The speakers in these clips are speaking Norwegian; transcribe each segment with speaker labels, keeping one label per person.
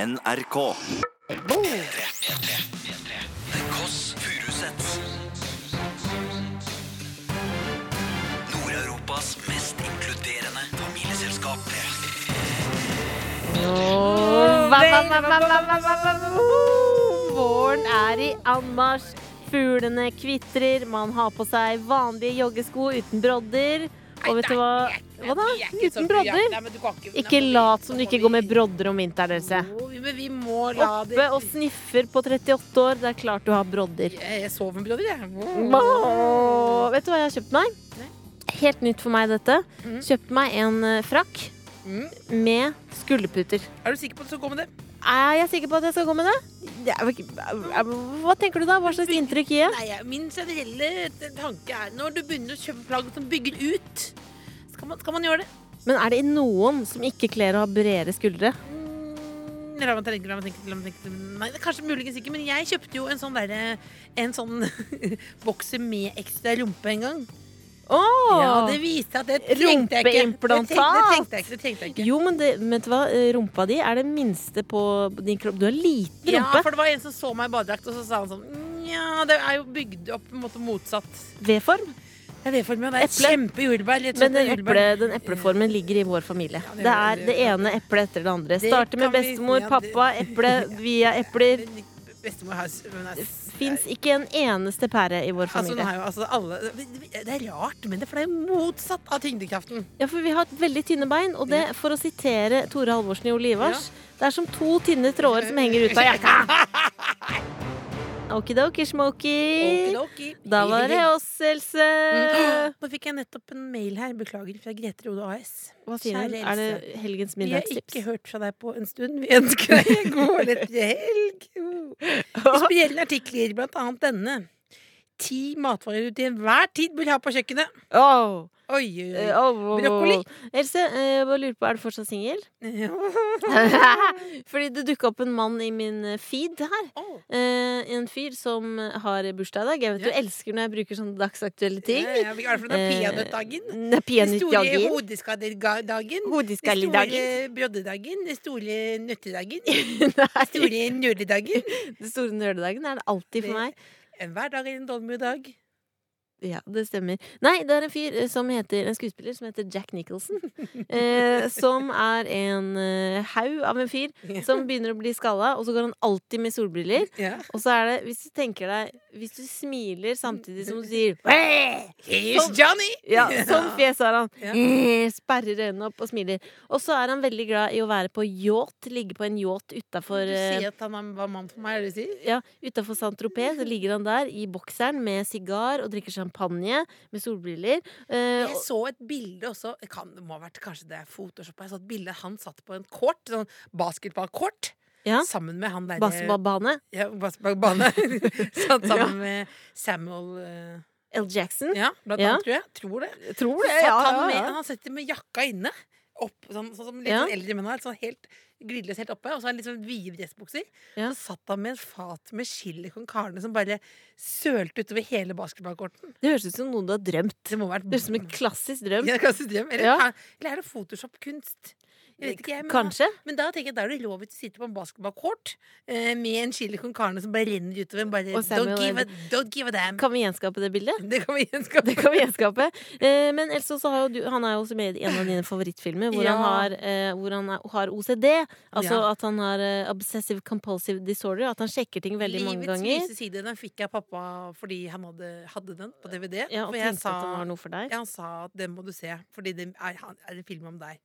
Speaker 1: NRK.
Speaker 2: The Koss Furusets Nord-Europas mest inkluderende familieselskap
Speaker 3: Va, va, va, va, va, va, va, va, va. Våren er i anmarsj. Fuglene kvitrer. Man har på seg vanlige joggesko uten brodder. Og vet du hva? Hva da? Uten brodder? Ikke lat som du ikke går med brodder om vinteren, Else.
Speaker 4: Men vi må la det
Speaker 3: Oppe og sniffer på 38 år. Det er klart du har brodder.
Speaker 4: Jeg sover med brodder, jeg.
Speaker 3: Åh, Vet du hva jeg har kjøpt meg?
Speaker 4: Nei.
Speaker 3: Helt nytt for meg, dette.
Speaker 4: Mm.
Speaker 3: Kjøpt meg en eh, frakk
Speaker 4: Mm.
Speaker 3: med skulderputer.
Speaker 4: Er du sikker på at du skal gå med det?
Speaker 3: Er jeg sikker på at jeg skal gå med det? Det er jo ikke- Hva tenker du da? Hva slags inntrykk gir jeg?
Speaker 4: Nei, jeg- Min generelle t- tanke er når du begynner å kjøpe plagg som bygger ut, skal man, skal man gjøre det.
Speaker 3: Men er det noen som ikke kler å ha bredere skuldre?
Speaker 4: Mm, La meg tenke, la meg tenke, la meg tenke. Nei, det er kanskje muligens ikke, men jeg kjøpte jo en sånn derre En sånn bokser med ekstra rumpe en gang.
Speaker 3: Åh!
Speaker 4: Ja, det viste seg at det trengte jeg ikke.
Speaker 3: Rumpeimplantat.
Speaker 4: Det tenkte, det tenkte jeg ikke. Det tenkte jeg ikke.
Speaker 3: Jo, men det, vet du hva? rumpa di er det minste på din kropp. Du har liten
Speaker 4: Ja,
Speaker 3: rumpe
Speaker 4: for det var en som så meg i badedrakt, og så sa han sånn Nja, det er jo bygd opp på en måte motsatt.
Speaker 3: V-form.
Speaker 4: Jeg vet for meg, det er et
Speaker 3: Eple.
Speaker 4: kjempejordbær. rett og slett,
Speaker 3: Men den,
Speaker 4: et jordbær.
Speaker 3: eple, den epleformen ligger i vår familie.
Speaker 4: Ja, det
Speaker 3: Det
Speaker 4: gjør
Speaker 3: er
Speaker 4: det.
Speaker 3: det ene eplet etter det andre.
Speaker 4: Det
Speaker 3: Starter med
Speaker 4: kan vi-
Speaker 3: bestemor,
Speaker 4: ja, det-
Speaker 3: pappa, eple via epler.
Speaker 4: Bestemor har hun er-
Speaker 3: Fins ikke en eneste pære i vår
Speaker 4: Altså, hun
Speaker 3: familie.
Speaker 4: er jo, altså, alle, det er rart, men det, for det er jo motsatt av tyngdekraften.
Speaker 3: Ja, for vi har veldig tynne bein, og det, for å sitere Tore Halvorsen i Olivars, det er som to tynne tråder som henger ut av jakka. Okidoki, smoky.
Speaker 4: Okidoki. Mm.
Speaker 3: Da var det oss, Else.
Speaker 4: Nå fikk jeg nettopp en mail her, beklager, fra Grete Rode AS.
Speaker 3: Hva sier hun?
Speaker 4: Kjære
Speaker 3: Er det
Speaker 4: Else,
Speaker 3: helgens
Speaker 4: Vi har ikke
Speaker 3: middagstips?
Speaker 4: hørt fra deg på en stund. Vi ønsker deg en god og lettere helg. Spesielle artikler, blant annet denne. Ti matvarer du til enhver tid bør ha på kjøkkenet.
Speaker 3: Åh,
Speaker 4: Oi,
Speaker 3: eh,
Speaker 4: oi, oi.
Speaker 3: åh, åh, åh.
Speaker 4: Brokkoli.
Speaker 3: Else, eh, jeg bare lurer på, er du fortsatt singel? Fordi det dukka opp en mann i min eh, feed her.
Speaker 4: Åh.
Speaker 3: Eh, en fyr som har bursdag i dag. Jeg vet
Speaker 4: Ja.
Speaker 3: du elsker når jeg bruker sånne dagsaktuelle ting.
Speaker 4: Ja, ja, vi har det for noe
Speaker 3: Eh,
Speaker 4: peanøttdagen.
Speaker 3: Det er
Speaker 4: Den store
Speaker 3: peanøttdagen.
Speaker 4: hodeskadedagen. Den
Speaker 3: Hodeskalledagen.
Speaker 4: store broddedagen. Den store nøttedagen. Den
Speaker 3: Nei,
Speaker 4: store nøledagen.
Speaker 3: den store nøledagen er det alltid for meg.
Speaker 4: Enhver dag er en dolmuedag.
Speaker 3: Ja, det stemmer. Nei, det er en fyr eh, som heter, en skuespiller som heter Jack Nicholson. Eh, som er en eh, haug av en fyr som begynner å bli skalla, og så går han alltid med solbriller.
Speaker 4: Ja.
Speaker 3: Og så er det, hvis du tenker deg Hvis du smiler samtidig som du sier
Speaker 4: Here's Johnny!
Speaker 3: Ja, sånn fjes har han.
Speaker 4: Ja.
Speaker 3: Eh, Sperrer øynene opp og smiler. Og så er han veldig glad i å være på yacht. Ligge på en yacht eh, utafor
Speaker 4: Du sier at han er- var mann for meg, er det du sier?
Speaker 3: ja, Utafor Saint-Tropez så ligger han der i bokseren med sigar og drikker champagne med solbriller. Eh,
Speaker 4: Jeg så et bilde også det kan, Det må ha vært kanskje det er Photoshop Jeg så et bilde han satt på en kort, sånn basketballkort,
Speaker 3: Ja.
Speaker 4: sammen med han derre
Speaker 3: Basketballbane.
Speaker 4: Ja, basketballbane. satt sammen med Samuel eh,
Speaker 3: L. Jackson.
Speaker 4: Ja, blant
Speaker 3: Ja.
Speaker 4: annet, tror jeg. Tror det.
Speaker 3: Tror
Speaker 4: Så satt han, med, han sitter med jakka inne. Opp, sånn, sånn som litt
Speaker 3: Ja.
Speaker 4: sånn eldre menn har. Sånn helt glideløs helt oppe. Og så har han litt sånn vide dressbukser.
Speaker 3: Ja.
Speaker 4: Så satt han med et fat med chili con carne som bare sølte utover hele basketballkorten.
Speaker 3: Det høres ut som noe du har drømt.
Speaker 4: Det må ha vært
Speaker 3: Det høres ut som en klassisk drøm.
Speaker 4: Ja, klassisk drøm. Eller,
Speaker 3: Ja. Eh,
Speaker 4: eller er det Photoshop-kunst? Jeg vet ikke, jeg. Men,
Speaker 3: Kanskje.
Speaker 4: men da tenker jeg da er det lov at du sitter på en basketballkort eh, med en chili con carne som bare renner utover. en,
Speaker 3: Og
Speaker 4: Bare, don't,
Speaker 3: Samuel
Speaker 4: give a, don't give a damn.
Speaker 3: Kan vi gjenskape det bildet?
Speaker 4: Det kan vi gjenskape.
Speaker 3: Det kan vi gjenskape. Eh, men ellers så har jo du Han er jo også med i en av dine favorittfilmer, hvor
Speaker 4: Ja.
Speaker 3: han, har, eh, hvor han er, har OCD. Altså
Speaker 4: Ja.
Speaker 3: at han har eh, obsessive compulsive disorder. At han sjekker ting veldig mange ganger.
Speaker 4: Livets lyse side den fikk jeg av pappa fordi han hadde, hadde den på DVD.
Speaker 3: Ja, og
Speaker 4: for jeg
Speaker 3: tenkte
Speaker 4: sa,
Speaker 3: at han var noe for deg.
Speaker 4: ja, han sa at den må du se, fordi det er, han- er en film om deg.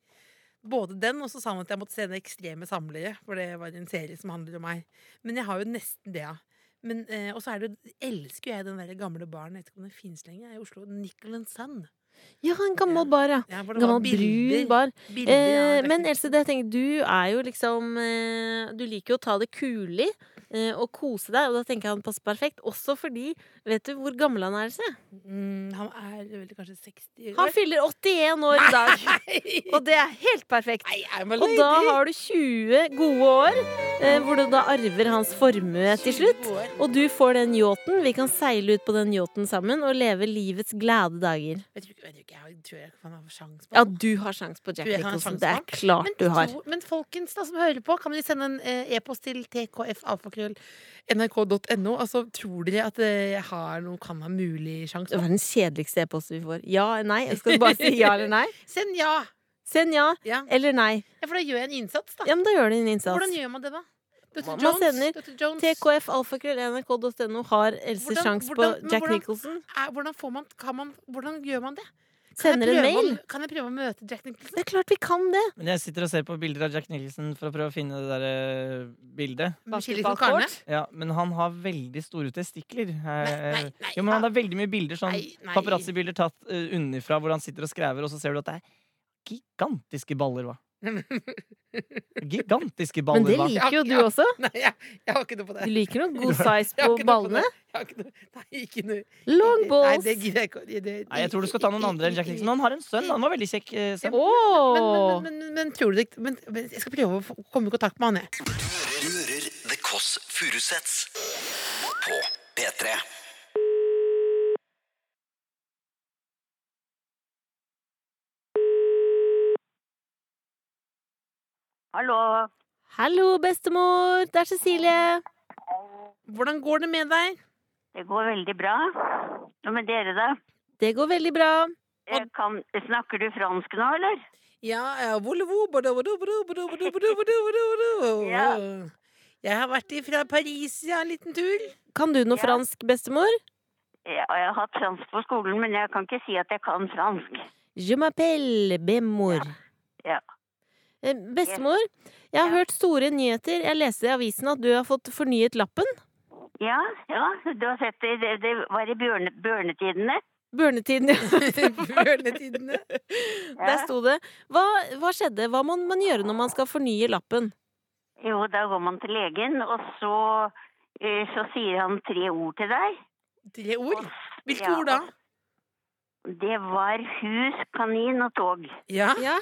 Speaker 4: Både den, og så sa han at jeg måtte se Det ekstreme samlere, for det var en serie som handler om meg. Men jeg har jo nesten det, ja. Men, eh, og så er det, jo- elsker jeg den der gamle baren, jeg vet ikke om den finnes lenger, jeg er i Oslo. Nicol Sun.
Speaker 3: Ja, en gammel bar, ja.
Speaker 4: Ja, hvor det var
Speaker 3: Gammel brun
Speaker 4: bilder-
Speaker 3: bar.
Speaker 4: bilder, ja,
Speaker 3: Eh,
Speaker 4: det er
Speaker 3: men
Speaker 4: ikke-
Speaker 3: Else, det jeg tenker, du er jo liksom eh, Du liker jo å ta det kulig eh, og kose deg, og da tenker jeg han passer perfekt. Også fordi Vet du hvor gammel han er, Else?
Speaker 4: mm, Han er vel kanskje 60
Speaker 3: Han
Speaker 4: år?
Speaker 3: fyller 81 år i dag,
Speaker 4: Nei,
Speaker 3: og det er helt perfekt.
Speaker 4: I'm a
Speaker 3: Og da
Speaker 4: lady.
Speaker 3: har du 20 gode år eh, hvor du da arver hans formue til slutt.
Speaker 4: 20 år.
Speaker 3: Og du får den yachten. Vi kan seile ut på den yachten sammen og leve livets glade dager.
Speaker 4: Jeg tror, ikke- jeg tror ikke jeg tror jeg kan ha sjans på
Speaker 3: Ja,
Speaker 4: det.
Speaker 3: du har sjans på Jack
Speaker 4: Du, jeg har
Speaker 3: Nicholson.
Speaker 4: sjans
Speaker 3: Det er
Speaker 4: på han.
Speaker 3: klart
Speaker 4: men,
Speaker 3: du har.
Speaker 4: tror- men folkens da, som hører på, kan dere sende en eh, e-post til tkfalfakrøll.nrk.no? Altså, tror dere at eh, jeg har noen kan ha mulig sjanse
Speaker 3: Det
Speaker 4: på?
Speaker 3: var den kjedeligste e-posten vi får. Ja eller nei? Jeg skal bare si ja eller nei.
Speaker 4: Send ja!
Speaker 3: Send ja
Speaker 4: ja!
Speaker 3: eller nei.
Speaker 4: Ja, For da gjør jeg en innsats, da.
Speaker 3: Ja, men da gjør du en
Speaker 4: Hvordan
Speaker 3: innsats.
Speaker 4: gjør man det, da? Dr.
Speaker 3: Man
Speaker 4: Jones,
Speaker 3: sender
Speaker 4: Dr. Jones.
Speaker 3: TKFalfakrøll.nrk.no har Else
Speaker 4: Hvordan-
Speaker 3: sjans på
Speaker 4: hvordan- men
Speaker 3: Jack
Speaker 4: hvordan-
Speaker 3: Nicholson.
Speaker 4: Er, hvordan, får man, kan man, hvordan gjør man det? Kan jeg
Speaker 3: Sender en
Speaker 4: prøve å-
Speaker 3: mail.
Speaker 4: Kan jeg prøve å møte Jack Nicholson?
Speaker 3: Det er klart vi kan det.
Speaker 1: Men jeg sitter og ser på bilder av Jack Nicholson for å prøve å finne det der eh, bildet.
Speaker 4: Med chili con carne?
Speaker 1: Ja, men han har veldig store testikler.
Speaker 4: Nei, nei,
Speaker 1: Eh,
Speaker 4: nei,
Speaker 1: Jo, men han
Speaker 4: nei.
Speaker 1: har veldig mye bilder sånn
Speaker 4: Nei, nei.
Speaker 1: paparazzi-bilder tatt eh, underfra hvor han sitter og skrever, og så ser du at det er gigantiske baller, hva? Gigantiske
Speaker 3: Men
Speaker 1: baller,
Speaker 3: det
Speaker 1: hva?
Speaker 3: liker jo du
Speaker 4: Ja.
Speaker 3: også.
Speaker 4: Nei, jeg, jeg har ikke noe på det.
Speaker 3: Du liker noe god size
Speaker 4: Jeg har
Speaker 3: på
Speaker 4: ikke noe på
Speaker 3: ballene.
Speaker 4: det. Jeg har ikke noe- Nei, ikke noe.
Speaker 3: Long
Speaker 4: Nei,
Speaker 3: balls.
Speaker 4: det gidder jeg ikke. Det- det-
Speaker 1: Nei, jeg tror du skal ta noen andre enn Jack Nicholson. Han har en sønn, han var veldig kjekk. eh, sønn.
Speaker 4: Men,
Speaker 3: Åh
Speaker 4: men, men, men, men tror du det men, men Jeg skal prøve å få- komme i kontakt med han, jeg.
Speaker 2: Du hører, du hører The Kåss Furuseths på P3.
Speaker 5: Hallo.
Speaker 3: Hallo, bestemor. Det er Cecilie.
Speaker 4: Hvordan går det med deg?
Speaker 5: Det går veldig bra. Hva med dere, da?
Speaker 3: Det går veldig bra.
Speaker 5: Jeg kan, snakker du fransk nå, eller?
Speaker 4: Ja, ja. Jeg har vært fra Paris, ja, en liten tur.
Speaker 3: Kan du noe
Speaker 5: Ja.
Speaker 3: fransk, bestemor?
Speaker 5: Jeg, jeg har hatt fransk på skolen, men jeg kan ikke si at jeg kan fransk.
Speaker 3: Je m'appelle bemor.
Speaker 5: Ja.
Speaker 3: Eh, Bestemor, jeg har
Speaker 5: Ja.
Speaker 3: hørt store nyheter. Jeg leste i avisen at du har fått fornyet lappen.
Speaker 5: Ja, ja, du har sett det. Det, det var i bjørne, bjørnetidene.
Speaker 3: Børnetiden, ja.
Speaker 4: Bjørnetidene.
Speaker 3: Der sto det. Hva, hva skjedde? Hva må man gjøre når man skal fornye lappen?
Speaker 5: Jo, da går man til legen, og så, eh, så sier han tre ord til deg.
Speaker 4: Tre ord. Hvilke
Speaker 5: Ja.
Speaker 4: ord da?
Speaker 5: Det var hus, kanin og tog.
Speaker 4: Ja.
Speaker 3: Ja.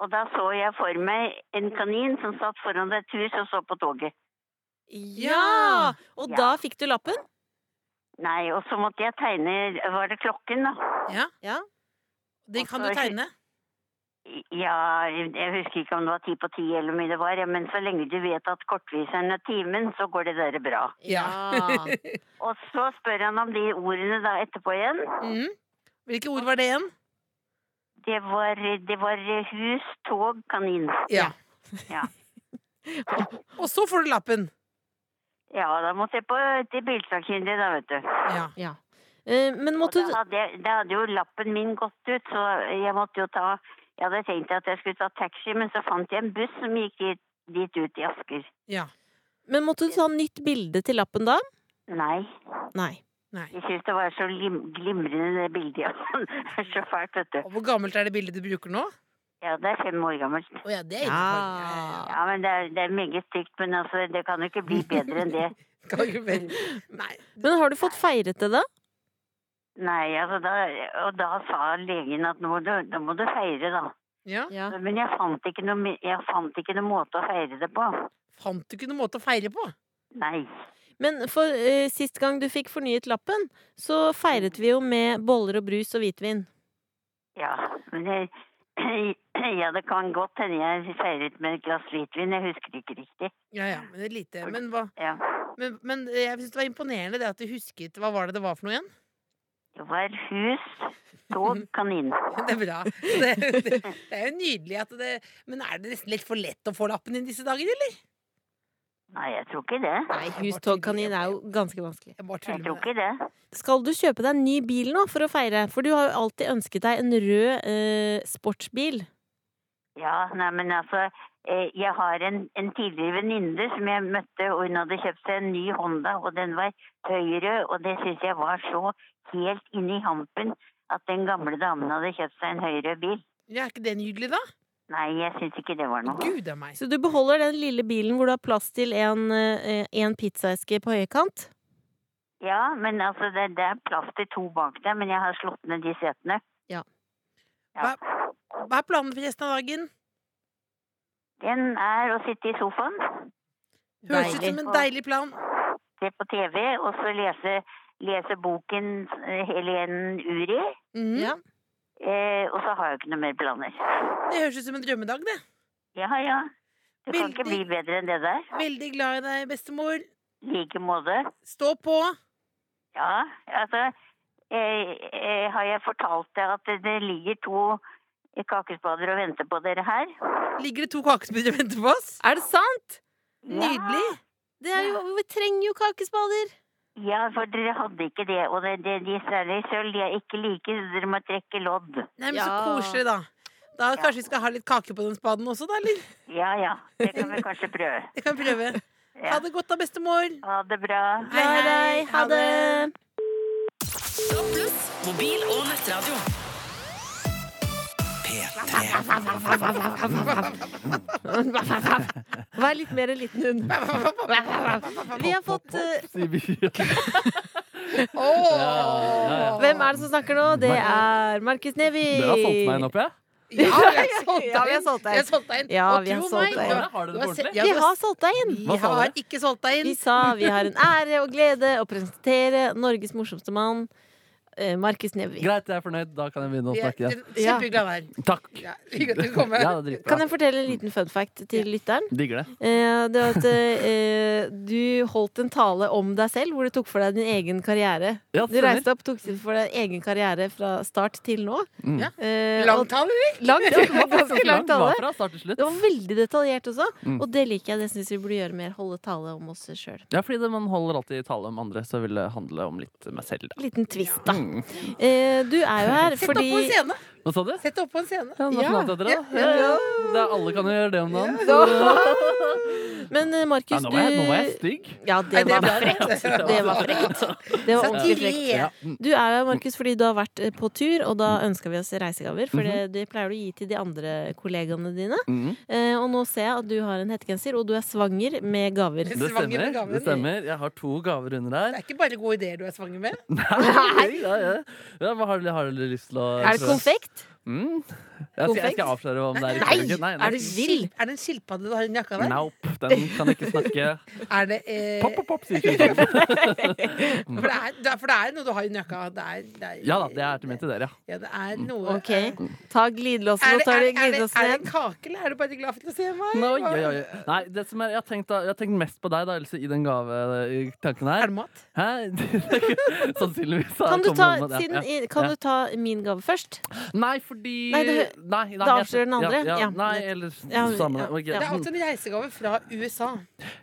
Speaker 5: Og da så jeg for meg en kanin som satt foran et hus og så på toget.
Speaker 3: Ja! Og
Speaker 5: Ja.
Speaker 3: da fikk du lappen?
Speaker 5: Nei, og så måtte jeg tegne Var det klokken, da?
Speaker 4: ja.
Speaker 3: Ja.
Speaker 4: Den kan du tegne.
Speaker 5: Ja, jeg husker ikke om det var ti på ti eller hvor mye det var, ja, men så lenge du vet at kortviseren er timen, så går det der bra.
Speaker 3: Ja.
Speaker 5: Og så spør han om de ordene da etterpå igjen.
Speaker 4: Mm. Hvilke ord var det igjen?
Speaker 5: Det var, det var hus, tog, kanin.
Speaker 4: Ja.
Speaker 5: Ja.
Speaker 4: Og så får du lappen.
Speaker 5: Ja, da måtte jeg på til bilsakkyndig, da, vet du.
Speaker 4: Ja.
Speaker 3: ja. Eh, Men
Speaker 5: Og
Speaker 3: måtte
Speaker 5: da
Speaker 3: du
Speaker 5: hadde, jeg, da hadde jo lappen min gått ut, så jeg måtte jo ta Jeg hadde tenkt at jeg skulle ta taxi, men så fant jeg en buss som gikk i- dit ut i Asker.
Speaker 4: ja.
Speaker 3: Men måtte du ta nytt bilde til lappen da?
Speaker 5: Nei.
Speaker 3: Nei.
Speaker 4: Nei.
Speaker 5: Jeg syns det var så glim, glimrende, det bildet. ja. Det er så fælt, vet du.
Speaker 4: Og hvor gammelt er det bildet du bruker nå?
Speaker 5: Ja, det er fem år gammelt.
Speaker 4: Å ja, det er innenfor.
Speaker 3: Ja.
Speaker 5: Ja, men det er, det er meget stygt, men altså, det kan jo ikke bli bedre enn det.
Speaker 4: Kan ikke mer. Nei.
Speaker 3: Men har du fått feiret det, da?
Speaker 5: Nei, altså, da, og da sa legen at nå må du, nå må du feire, da.
Speaker 4: Ja.
Speaker 3: Ja.
Speaker 5: Men jeg fant, ikke noe, me- jeg fant ikke noe måte å feire det på.
Speaker 4: Fant du ikke noen måte å feire på?
Speaker 5: Nei.
Speaker 3: Men for eh, sist gang du fikk fornyet lappen, så feiret vi jo med boller og brus og hvitvin.
Speaker 5: Ja, men jeg, ja, det kan godt hende jeg feiret med et glass hvitvin. Jeg husker ikke riktig.
Speaker 4: Ja, ja, men det er lite. Men, hva,
Speaker 5: Ja.
Speaker 4: men, men jeg syns det var imponerende det at du husket Hva var det det var for noe igjen?
Speaker 5: Det var hus, tog, kanin.
Speaker 4: Det er bra. Det, det, det er jo nydelig at det Men er det nesten litt for lett å få lappen inn disse dager, eller?
Speaker 5: Nei, jeg tror ikke det.
Speaker 3: Nei, hus, tog, kanin er jo ganske vanskelig.
Speaker 4: Jeg bare
Speaker 5: Jeg
Speaker 4: tuller
Speaker 5: tror
Speaker 4: med deg.
Speaker 5: ikke det.
Speaker 3: Skal du kjøpe deg en ny bil nå for å feire? For du har jo alltid ønsket deg en rød eh, sportsbil.
Speaker 5: Ja, nei, men altså eh, Jeg har en, en tidligere venninne som jeg møtte, og hun hadde kjøpt seg en ny Honda, og den var høyre, og det syns jeg var så helt inni hampen at den gamle damen hadde kjøpt seg en høyre bil.
Speaker 4: Ja, er ikke det nydelig, da?
Speaker 5: Nei, jeg syns ikke det var noe.
Speaker 4: Gud a meg.
Speaker 3: Så du beholder den lille bilen hvor du har plass til en, eh, en pizzaeske på høykant?
Speaker 5: Ja, men altså, det, det er plass til to bak deg, men jeg har slått ned de setene.
Speaker 3: Ja.
Speaker 5: Ja.
Speaker 4: Hva er planen for resten av dagen?
Speaker 5: Den er å sitte i sofaen.
Speaker 4: Høres ut som en deilig plan.
Speaker 5: Se på TV, og så lese, lese boken eh, Helen Uri.
Speaker 4: Mhm.
Speaker 3: Ja.
Speaker 5: Eh, og så har jeg ikke noe mer planer.
Speaker 4: Det høres ut som en drømmedag, det.
Speaker 5: Ja, ja. Det kan ikke bli
Speaker 4: Veldig-
Speaker 5: bedre enn det der.
Speaker 4: Veldig glad i deg, bestemor.
Speaker 5: I like måte.
Speaker 4: Stå på.
Speaker 5: Ja, altså eh, eh, Har jeg fortalt deg at det- det ligger to kakespader og venter på dere her?
Speaker 4: Ligger det to kakesmuljer og venter på oss?
Speaker 3: Er det sant?
Speaker 4: Nydelig.
Speaker 3: Det er jo, vi trenger jo kakespader.
Speaker 5: Ja, for dere hadde ikke det. Og det, det, de særlig sølv de er ikke like, så dere må trekke lodd.
Speaker 4: Nei, men Så
Speaker 3: Ja.
Speaker 4: koselig, da. Da Kanskje vi skal ha litt kake på den spaden også, da? Eller?
Speaker 5: Ja ja, det kan vi kanskje prøve.
Speaker 4: Det kan vi prøve.
Speaker 5: Ja.
Speaker 4: Ha det godt da, bestemor.
Speaker 5: Ha det bra.
Speaker 4: Hei,
Speaker 3: Glad i
Speaker 4: hei.
Speaker 3: deg. Ha
Speaker 4: Ha
Speaker 3: det.
Speaker 4: det.
Speaker 6: Mobil og nettradio.
Speaker 2: P3.
Speaker 3: Vær litt mer en liten hund. Vi har fått eh,
Speaker 1: Ååå!
Speaker 3: Hvem er det som snakker nå? Det er Markus Neby.
Speaker 1: Dere har solgt meg inn opp, ja?
Speaker 4: Ja,
Speaker 3: Ja, vi har solgt deg inn.
Speaker 4: Vi har solgt deg inn.
Speaker 3: Ja,
Speaker 4: Og
Speaker 3: vi har
Speaker 4: tro
Speaker 3: solgt
Speaker 4: meg,
Speaker 3: deg inn.
Speaker 4: du
Speaker 1: Dere har det
Speaker 4: du se-
Speaker 1: på ordentlig?
Speaker 4: ja,
Speaker 3: Vi
Speaker 4: du
Speaker 3: har solgt deg inn.
Speaker 4: Vi
Speaker 1: Hva sa
Speaker 4: har
Speaker 1: dere?
Speaker 4: ikke solgt deg inn.
Speaker 3: Vi sa vi har en ære og glede å presentere Norges morsomste mann, eh, Markus Neby.
Speaker 1: Greit, jeg er fornøyd. Da kan jeg begynne å
Speaker 4: Vi er
Speaker 1: snakke igjen.
Speaker 4: kjempeglade her.
Speaker 1: Takk.
Speaker 4: Ja, hyggelig at du kom.
Speaker 1: Ja, det er
Speaker 3: Kan
Speaker 1: dritbra.
Speaker 3: jeg fortelle en liten fun fact til lytteren?
Speaker 1: Digger det.
Speaker 3: Eh, det var at eh, du holdt en tale om deg selv, hvor du tok for deg din egen karriere.
Speaker 1: Ja,
Speaker 3: Du
Speaker 1: stemmer.
Speaker 3: reiste opp tok for deg egen karriere fra start til nå.
Speaker 1: Mm.
Speaker 4: Ja.
Speaker 3: Eh, og-
Speaker 4: Langtall, eller?
Speaker 3: Langt, det var ganske lang
Speaker 1: Det
Speaker 3: tale.
Speaker 1: var fra start til slutt.
Speaker 3: Det var veldig detaljert også,
Speaker 1: Mm.
Speaker 3: og det liker jeg. Det syns vi burde gjøre mer. Holde tale om oss sjøl.
Speaker 1: Ja, fordi det, man holder alltid tale om andre, så vil det handle om litt meg selv. Da.
Speaker 3: Liten twist, da.
Speaker 1: Mm.
Speaker 3: Eh, du er jo her
Speaker 4: Sett deg opp på en
Speaker 3: fordi
Speaker 4: scene.
Speaker 1: Hva sa du?
Speaker 4: Sett deg opp på en scene.
Speaker 1: Ja, Nationaltheatret,
Speaker 4: Ja.
Speaker 1: da. Ja, ja. Det er, alle kan jo gjøre det om dagen.
Speaker 3: Men eh,
Speaker 1: Ja,
Speaker 3: Markus,
Speaker 1: nå,
Speaker 3: du
Speaker 1: var jeg, nå var jeg stygg.
Speaker 3: Ja, det
Speaker 4: Nei,
Speaker 3: var frekt. Det var frekt. Det var ordentlig frekt.
Speaker 4: Satire.
Speaker 1: Ja. Mm.
Speaker 3: Du er her, Markus, fordi du har vært eh, på tur, og da ønska vi oss reisegaver. For
Speaker 1: Mm-hmm.
Speaker 3: det, det pleier du å gi til de andre kollegaene dine.
Speaker 1: Mm.
Speaker 3: Eh, og nå ser jeg at du har en hettegenser, og du er svanger med gaver.
Speaker 1: Det
Speaker 4: Svanger med
Speaker 1: stemmer.
Speaker 4: gaven.
Speaker 1: det stemmer. Jeg har to gaver under her.
Speaker 4: Det er ikke bare gode ideer du er svanger med.
Speaker 1: Nei! Ja, ja. Ja, hva har, du- har du lyst til å
Speaker 3: Er det konfekt?
Speaker 1: Mm. Jeg, skal, jeg skal avsløre hva om det er. i
Speaker 3: Nei!
Speaker 1: konfekt.
Speaker 3: Er du vill?
Speaker 4: Er det en skilpadde du har i jakka der?
Speaker 1: Nope, den kan ikke snakke.
Speaker 4: Er det, eh,
Speaker 1: Pop, pop, pop, sier ikke sånn.
Speaker 4: for, det er, det er- for det er noe du har i jakka. Det er, det er,
Speaker 1: Ja da, det er til min Mm. til dere, ja.
Speaker 4: Ja, det er noe
Speaker 3: Ok.
Speaker 4: eh,
Speaker 3: Ta glidelåsen
Speaker 4: Er
Speaker 3: og
Speaker 4: det,
Speaker 3: tar du
Speaker 4: er, det- er, det,
Speaker 3: glidelåsen
Speaker 4: er det
Speaker 3: igjen.
Speaker 4: en kake, eller er du bare glad for å se meg?
Speaker 1: Nei, oi,
Speaker 4: Hva-
Speaker 1: oi, oi. Nei, det som er, jeg har tenkt, da- jeg har tenkt mest på deg da, Else, i den gavetanken
Speaker 4: Er
Speaker 1: her.
Speaker 4: det mat?
Speaker 1: Hæ? Sannsynligvis. da
Speaker 3: Kan du
Speaker 1: kommer
Speaker 3: ta,
Speaker 1: noen med det.
Speaker 3: siden,
Speaker 1: Ja.
Speaker 3: i- kan
Speaker 1: Ja.
Speaker 3: du ta min gave først?
Speaker 1: Nei, fordi
Speaker 3: Nei,
Speaker 1: Nei,
Speaker 3: det
Speaker 1: nei,
Speaker 3: da
Speaker 1: jeg-
Speaker 3: avslører den andre.
Speaker 1: Ja,
Speaker 3: Ja.
Speaker 1: ja, nei, eller
Speaker 3: Ja,
Speaker 1: ja, samme.
Speaker 3: ja,
Speaker 1: ok.
Speaker 3: ja.
Speaker 4: Det er altså en reisegave fra USA.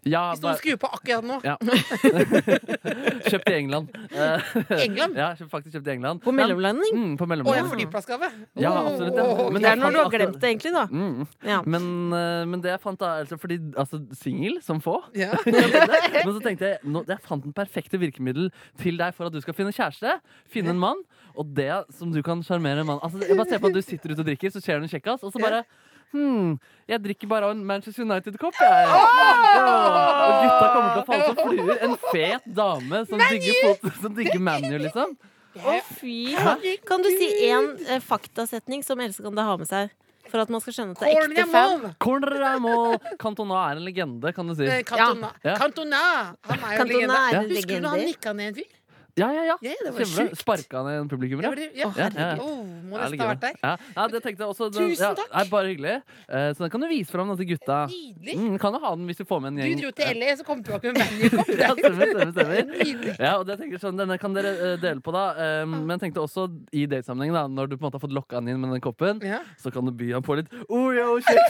Speaker 1: Ja,
Speaker 4: Hvis noen
Speaker 1: bare-
Speaker 4: skrur på akkurat nå.
Speaker 1: ja. Kjøpt i England. Eh,
Speaker 4: England?
Speaker 1: Ja, kjøpt- faktisk kjøpt i England.
Speaker 3: På mellomlanding?
Speaker 1: Mm,
Speaker 4: Å,
Speaker 1: på
Speaker 4: ja,
Speaker 1: mellomland.
Speaker 4: flyplassgave. Oh,
Speaker 1: Ja, absolutt. Ja.
Speaker 4: Åh,
Speaker 1: Men
Speaker 3: Det er
Speaker 1: jeg
Speaker 3: når du har
Speaker 1: fant-
Speaker 3: glemt det, egentlig, da.
Speaker 1: Mm.
Speaker 3: Ja.
Speaker 1: Men, eh, men det jeg fant da altså, Fordi altså, singel som få
Speaker 4: Ja.
Speaker 1: Men så tenkte jeg nå, Jeg fant den perfekte virkemiddel til deg for at du skal finne kjæreste. Finne en mann. Og det som du kan sjarmere en mann altså, Jeg bare ser på at du sitter ute og drikker, så ser du en kjekkas, og så bare Hmm, jeg drikker bare av en Manchester United-kopp, jeg. Ja, og gutta kommer til å falle som fluer. En fet dame som digger, fot, som digger ManU, liksom.
Speaker 3: Å, fy faen. Kan du si én eh, faktasetning som Else kan da ha med seg? For at man skal skjønne at det er
Speaker 4: Corn
Speaker 3: ekte fan.
Speaker 4: Eh,
Speaker 1: Corneramo! Cantona er en legende, kan du si.
Speaker 4: Cantona.
Speaker 1: Ja.
Speaker 4: Cantona. Han er jo
Speaker 3: Cantona
Speaker 4: legende.
Speaker 3: er en
Speaker 4: Husker du når
Speaker 3: legende.
Speaker 4: han nikka ned en fyr?
Speaker 1: Ja, ja, ja.
Speaker 4: Ja, det var
Speaker 1: Kjempebra.
Speaker 4: sjukt.
Speaker 1: Sparka ned en publikummer.
Speaker 4: Ja,
Speaker 1: ja.
Speaker 4: var det- ja.
Speaker 1: Ja, ja.
Speaker 4: Åh, må
Speaker 1: Ja,
Speaker 4: nesten ha
Speaker 1: ligger
Speaker 4: vært der.
Speaker 1: det. Ja, ja, det tenkte jeg også.
Speaker 4: Tusen
Speaker 1: ja,
Speaker 4: takk.
Speaker 1: er bare hyggelig. Eh, Så den kan du vise fram da til gutta.
Speaker 4: Nydelig.
Speaker 1: Mm, kan jo ha den hvis du får med en
Speaker 4: Du
Speaker 1: gjeng.
Speaker 4: dro til LA, så kom du tilbake med ManU-kopp.
Speaker 1: Ja, stemmer, stemmer, stemmer.
Speaker 4: Nydelig.
Speaker 1: Ja, og det tenker jeg sånn, Denne kan dere eh, dele på, da. Eh, Men jeg tenkte også i datesammenheng, da, når du på en måte har fått lokka han inn med den koppen,
Speaker 4: Ja.
Speaker 1: så kan du by han på litt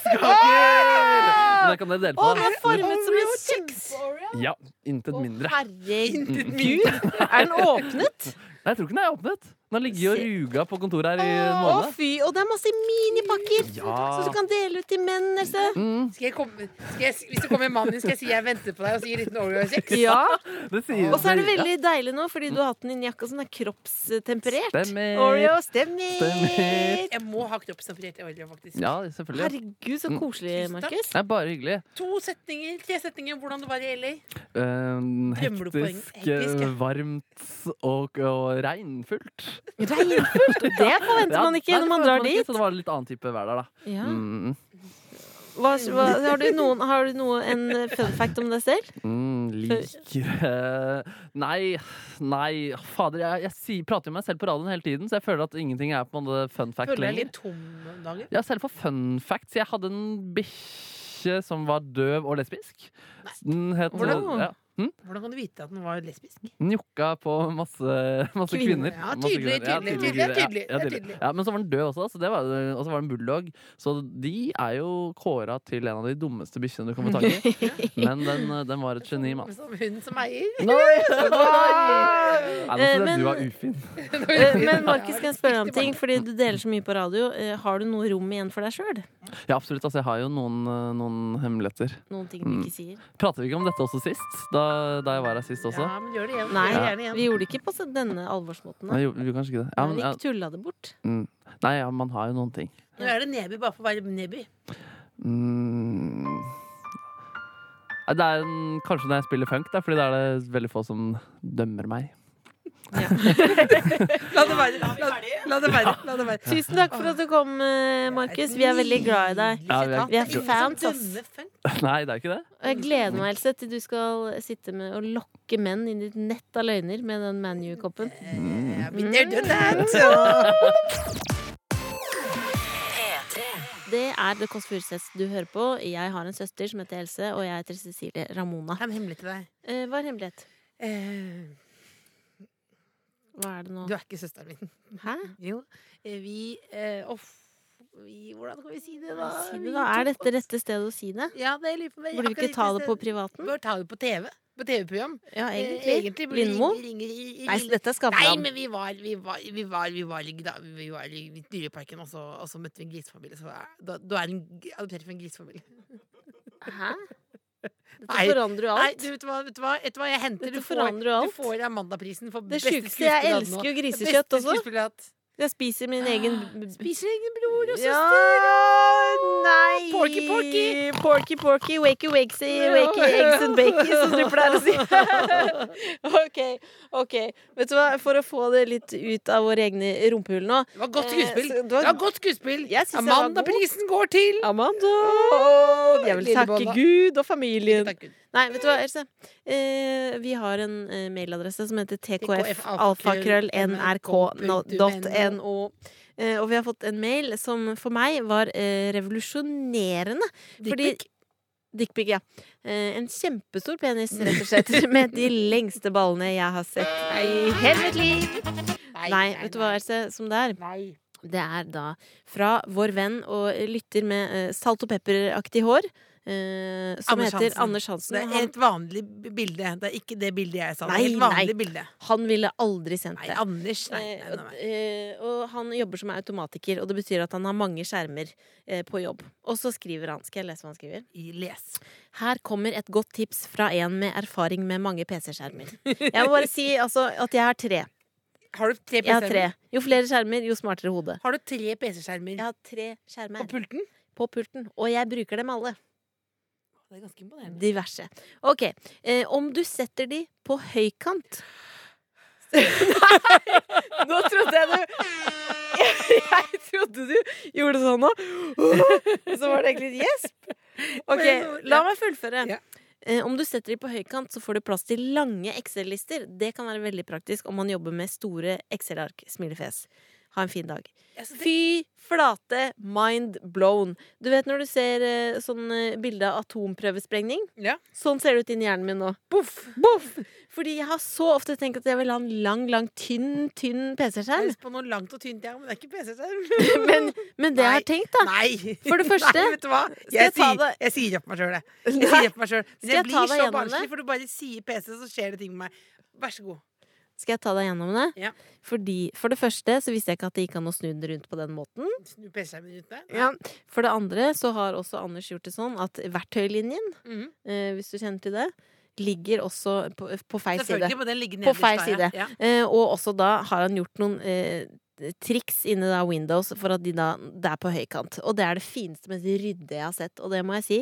Speaker 1: Oreo-kjekskaker! Men det kan dere dele
Speaker 3: Å,
Speaker 1: på.
Speaker 3: den er
Speaker 1: da.
Speaker 3: formet som en kjeks!
Speaker 1: Ja, Intet mindre.
Speaker 4: Intet
Speaker 3: Herregud.
Speaker 4: mye.
Speaker 3: Er den åpnet?
Speaker 1: Nei, jeg tror ikke den er åpnet. Den har ligget og
Speaker 3: Se.
Speaker 1: ruga på kontoret her i en
Speaker 3: Å,
Speaker 1: måned.
Speaker 3: fy. Og det er masse minipakker
Speaker 1: Ja.
Speaker 3: som du kan dele ut til menn. Else.
Speaker 1: Mm,
Speaker 4: Skal jeg komme, skal jeg, hvis det kommer en mann inn, skal jeg si jeg venter på deg og si en liten Oreo-kjeks?
Speaker 3: Ja.
Speaker 1: det sier
Speaker 3: Og så er det veldig deilig nå, fordi du har hatt den inni jakka som er kroppstemperert.
Speaker 1: Stemmer.
Speaker 3: Oreo stemmer.
Speaker 1: Stemmer.
Speaker 4: Jeg må ha kroppstemperert Oreo, faktisk.
Speaker 1: Ja, selvfølgelig.
Speaker 3: Herregud, så
Speaker 1: Mm.
Speaker 3: koselig,
Speaker 4: Tusen takk.
Speaker 3: Markus.
Speaker 1: Det er bare hyggelig.
Speaker 4: To setninger, tre setninger om hvordan det var i LA.
Speaker 1: Um,
Speaker 4: Drømmer du på
Speaker 1: hektisk,
Speaker 4: eng- hektisk, ja.
Speaker 1: eh, varmt og, og regnfullt.
Speaker 3: Regnfullt! og Det forventer
Speaker 1: Ja,
Speaker 3: man ikke
Speaker 1: nei,
Speaker 3: når
Speaker 1: det
Speaker 3: man
Speaker 1: forventer
Speaker 3: drar
Speaker 1: ikke, Mm.
Speaker 3: dit.
Speaker 1: Så det var litt annen type vær der, da.
Speaker 3: Ja.
Speaker 1: Mm.
Speaker 3: Hva, hva, har du, noen, har du noe, en fun fact om deg selv?
Speaker 1: Mm, liker eh, Nei, nei, fader. Jeg, jeg sier, prater jo med meg selv på radioen hele tiden, så jeg føler at ingenting er på en måte fun fact
Speaker 4: Føler jeg er
Speaker 1: lenger.
Speaker 4: litt tom om dagen.
Speaker 1: Ja, selv for fun facts. Jeg hadde en bikkje som var døv og lesbisk. Den het
Speaker 3: Hvordan?
Speaker 1: ja, hm?
Speaker 4: Hvordan kan du vite at den var lesbisk?
Speaker 1: Njokka på masse, masse
Speaker 3: Kvinner.
Speaker 1: kvinner.
Speaker 4: Ja,
Speaker 1: Masse
Speaker 4: tydelig,
Speaker 1: kvinner. Ja,
Speaker 4: tydelig, tydelig,
Speaker 1: tydelige kvinner.
Speaker 4: tydelig, det
Speaker 1: Ja, ja,
Speaker 4: er
Speaker 1: tydelig.
Speaker 4: tydelig.
Speaker 1: Ja, men så var den død også, så det var, og så var den bulldog. Så de er jo kåra til en av de dummeste bikkjene du kan få tak i. Men den, den var et geni, mann.
Speaker 4: Som hun som eier.
Speaker 1: Nei, nå synes jeg
Speaker 3: Eh,
Speaker 1: du
Speaker 3: men-
Speaker 1: var ufin.
Speaker 3: Eh, Men Markus, kan jeg spørre deg om ting? Fordi du deler så mye på radio. Eh, Har du noe rom igjen for deg sjøl?
Speaker 1: Ja, absolutt. Altså, jeg har jo noen, eh, noen hemmeligheter.
Speaker 3: Noen ting
Speaker 1: Mm.
Speaker 3: du ikke sier?
Speaker 1: Prater vi ikke om dette også sist? Da, da jeg var her sist også?
Speaker 4: Ja, men gjør det igjen.
Speaker 3: Nei,
Speaker 4: Gjør det gjerne
Speaker 3: vi
Speaker 4: igjen.
Speaker 3: gjorde det ikke på så- denne alvorsmåten. da.
Speaker 1: Nei, jo, vi gjorde kanskje ikke det. Ja, men,
Speaker 3: Vi
Speaker 1: ja,
Speaker 3: ikke tulla det bort.
Speaker 1: mm. nei, ja, man har jo noen ting.
Speaker 4: Nå er det Neby bare for å være Neby.
Speaker 1: Mm. Nei, Det er en, kanskje når jeg spiller funk, da, fordi da er det veldig få som dømmer meg.
Speaker 4: La det være. La, la det være. La det være.
Speaker 3: Tusen takk for at du kom, eh, Markus. Vi er veldig glad i deg.
Speaker 1: Ja, vi er-
Speaker 4: Nydelig sitat.
Speaker 3: vi er fans,
Speaker 4: Ingen som
Speaker 3: ass.
Speaker 4: dømmer sånn funk.
Speaker 1: Nei, det er ikke det.
Speaker 3: Og jeg gleder meg Else, til du skal sitte med og lokke menn inn i ditt nett av løgner med den ManU-koppen.
Speaker 4: Yeah,
Speaker 3: Mm.
Speaker 4: been there, done that.
Speaker 3: Det er The Kåss Furuseths du hører på. Jeg har en søster som heter Else, og jeg heter Cecilie Ramona.
Speaker 4: Jeg har en hemmelig til deg.
Speaker 3: Eh, Hva er hemmelighet?
Speaker 4: Eh,
Speaker 3: Hva er det nå?
Speaker 4: Du er ikke søsteren min.
Speaker 3: Hæ?
Speaker 4: Jo. eh, Vi, eh, off, vi Hvordan kan vi si det, da?
Speaker 3: Si
Speaker 4: Vi
Speaker 3: det da. Er
Speaker 4: tok
Speaker 3: dette rette stedet å si det?
Speaker 4: oss- Ja, det lurer på meg.
Speaker 3: Burde vi
Speaker 4: Akkurat
Speaker 3: ikke ta
Speaker 4: riktig
Speaker 3: det på
Speaker 4: sted.
Speaker 3: privaten?
Speaker 4: Bør ta det på TV. På TV-program.
Speaker 3: Ja,
Speaker 4: Eh,
Speaker 3: egentlig.
Speaker 4: egentlig burde vi
Speaker 3: Lindmo?
Speaker 4: ringe- ringe- i- i-
Speaker 3: Nei, så dette er
Speaker 4: Nei,
Speaker 3: Skavlan.
Speaker 4: men vi var, vi var, vi var, vi var, i- da- vi var i Dyreparken, og så, og så møtte vi en grisefamilie. Så er- da, du er en g- adoptert fra en grisefamilie.
Speaker 3: Hæ? Dette
Speaker 4: Nei.
Speaker 3: forandrer jo
Speaker 4: Nei,
Speaker 3: alt.
Speaker 4: du, vet du hva, vet du hva, vet du hva jeg henter?
Speaker 3: Dette
Speaker 4: Du får,
Speaker 3: forandrer jo alt.
Speaker 4: du får Amanda-prisen for
Speaker 3: Det
Speaker 4: beste
Speaker 3: sjukeste Jeg
Speaker 4: skuespiller nå.
Speaker 3: elsker jo
Speaker 4: Beste
Speaker 3: grisekjøtt også.
Speaker 4: skuespiller at-
Speaker 3: Jeg spiser min egen b- b-
Speaker 4: Spiser egen bror og søster.
Speaker 3: Ja, nei!
Speaker 4: Porky, porky.
Speaker 3: Porky, porky, wakey, wakey,
Speaker 4: Ja.
Speaker 3: wakey, eggs and bakey, som du pleier å si. ok, ok. Vet du hva, for å få det litt ut av våre egne rumpehull nå
Speaker 4: Det var godt
Speaker 3: Eh,
Speaker 4: skuespill.
Speaker 3: så det var-
Speaker 4: Det var godt skuespill.
Speaker 3: Jeg synes jeg var god.
Speaker 4: Amanda-prisen går til
Speaker 3: Amanda! Jeg vil
Speaker 4: Lille
Speaker 3: takke
Speaker 4: Bolla.
Speaker 3: Gud og familien.
Speaker 4: Takk, Gud.
Speaker 3: Nei, vet du hva, Else? Eh, vi har en eh, mailadresse som heter tkfalfakrøllnrk.no. Eh, og vi har fått en mail som for meg var eh, revolusjonerende. Fordi-
Speaker 4: Dickpic.
Speaker 3: Dickpic, ja. Eh, en kjempestor penis, rett og slett. Med de lengste ballene jeg har sett i hele mitt liv. Nei, vet du hva, Else? Som det er.
Speaker 4: Nei.
Speaker 3: Det er da fra vår venn og lytter med eh, salt og pepperaktig hår, eh, som
Speaker 4: Anders
Speaker 3: heter
Speaker 4: Hansen.
Speaker 3: Anders Hansen.
Speaker 4: Det er
Speaker 3: Han,
Speaker 4: et vanlig b- bilde. Det er ikke det bildet jeg sa. Det
Speaker 3: Nei,
Speaker 4: er et vanlig bilde.
Speaker 3: han ville aldri sendt
Speaker 4: Nei,
Speaker 3: det.
Speaker 4: Anders. Nei,
Speaker 3: Eh,
Speaker 4: nei, nei,
Speaker 3: og,
Speaker 4: nei.
Speaker 3: eh, og han jobber som automatiker, og det betyr at han har mange skjermer eh, på jobb. Og så skriver han Skal jeg lese hva han skriver?
Speaker 4: I- Les.
Speaker 3: Her kommer et godt tips fra en med erfaring med mange PC-skjermer. Jeg må bare si altså, at jeg har tre.
Speaker 4: Har du tre
Speaker 3: Jeg har tre.
Speaker 4: PC-skjermer?
Speaker 3: Jo flere skjermer, jo smartere hode.
Speaker 4: Har du tre PC-skjermer
Speaker 3: Jeg har tre skjermer
Speaker 4: på pulten?
Speaker 3: på pulten, og jeg bruker dem alle.
Speaker 4: Det er ganske imponerende.
Speaker 3: Diverse. Ok. Eh, om du setter de på høykant Nei! Nå trodde jeg du Jeg trodde du gjorde sånn nå. Så var det egentlig et gjesp. Ok, la meg fullføre.
Speaker 4: Ja.
Speaker 3: Eh, Om du setter de på høykant, så får du plass til lange Excel-lister. Det kan være veldig praktisk om man jobber med store Excel-ark. Smilefjes. Ha en fin dag.
Speaker 4: Jeg synes det-
Speaker 3: Fy flate, mind blown. Du vet når du ser eh, sånn eh, bilde av atomprøvesprengning?
Speaker 4: Ja.
Speaker 3: Sånn ser det ut inni hjernen min nå.
Speaker 4: Boff!
Speaker 3: Boff! Fordi jeg har så ofte tenkt at jeg vil ha en lang, lang, tynn, tynn
Speaker 4: Jeg
Speaker 3: PC-skjerm.
Speaker 4: lyst på noe langt og tynt, jeg, men det er ikke PC-skjerm.
Speaker 3: Men, men det jeg har tenkt, da
Speaker 4: Nei!
Speaker 3: For det første,
Speaker 4: Nei, vet du hva?
Speaker 3: skal
Speaker 4: Jeg,
Speaker 3: jeg ta
Speaker 4: sier-
Speaker 3: det-
Speaker 4: jeg sier opp meg sjøl, jeg. Jeg
Speaker 3: Nei.
Speaker 4: sier opp meg selv. Men
Speaker 3: Skal jeg ta
Speaker 4: jeg blir
Speaker 3: deg
Speaker 4: så
Speaker 3: gjennom det?
Speaker 4: barnslig, for du bare sier PC, så skjer det ting med meg. Vær så god.
Speaker 3: Skal jeg ta deg gjennom det?
Speaker 4: Ja.
Speaker 3: Fordi, for det første så visste jeg ikke at det gikk an å snu den rundt på den måten.
Speaker 4: Snu PC-skjermen rundt deg.
Speaker 3: For det andre så har også Anders gjort det sånn at verktøylinjen,
Speaker 4: Mhm.
Speaker 3: eh, hvis du kjenner til det, ligger også på, eh, på feil side.
Speaker 4: Selvfølgelig må den ligge
Speaker 3: På
Speaker 4: nederst
Speaker 3: feil
Speaker 4: der,
Speaker 3: side.
Speaker 4: Ja.
Speaker 3: Eh, og også da har han gjort noen eh, triks inne da Windows for at de da, det er på høykant. Og det er det fineste, mest ryddige jeg har sett. Og det må jeg si,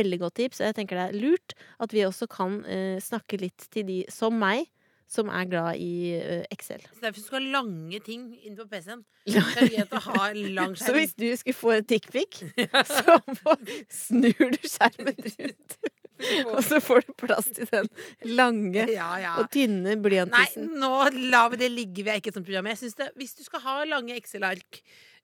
Speaker 3: veldig godt tips. Og jeg tenker det er lurt at vi også kan eh, snakke litt til de som meg. som er glad i eh, Excel.
Speaker 4: Så derfor skal du ha lange ting inn på PC-en.
Speaker 3: Ja.
Speaker 4: Så er det greit å ha lang
Speaker 3: Så
Speaker 4: skjerm.
Speaker 3: hvis du skulle få en dickpic, så må- snur du skjermen rundt, og så får du plass til den lange
Speaker 4: Ja, ja.
Speaker 3: og tynne
Speaker 4: Nei,
Speaker 3: blyantisen.
Speaker 4: nå lar vi det ligge. Vi er ikke et sånt program. Jeg synes det, Hvis du skal ha lange Excel-ark,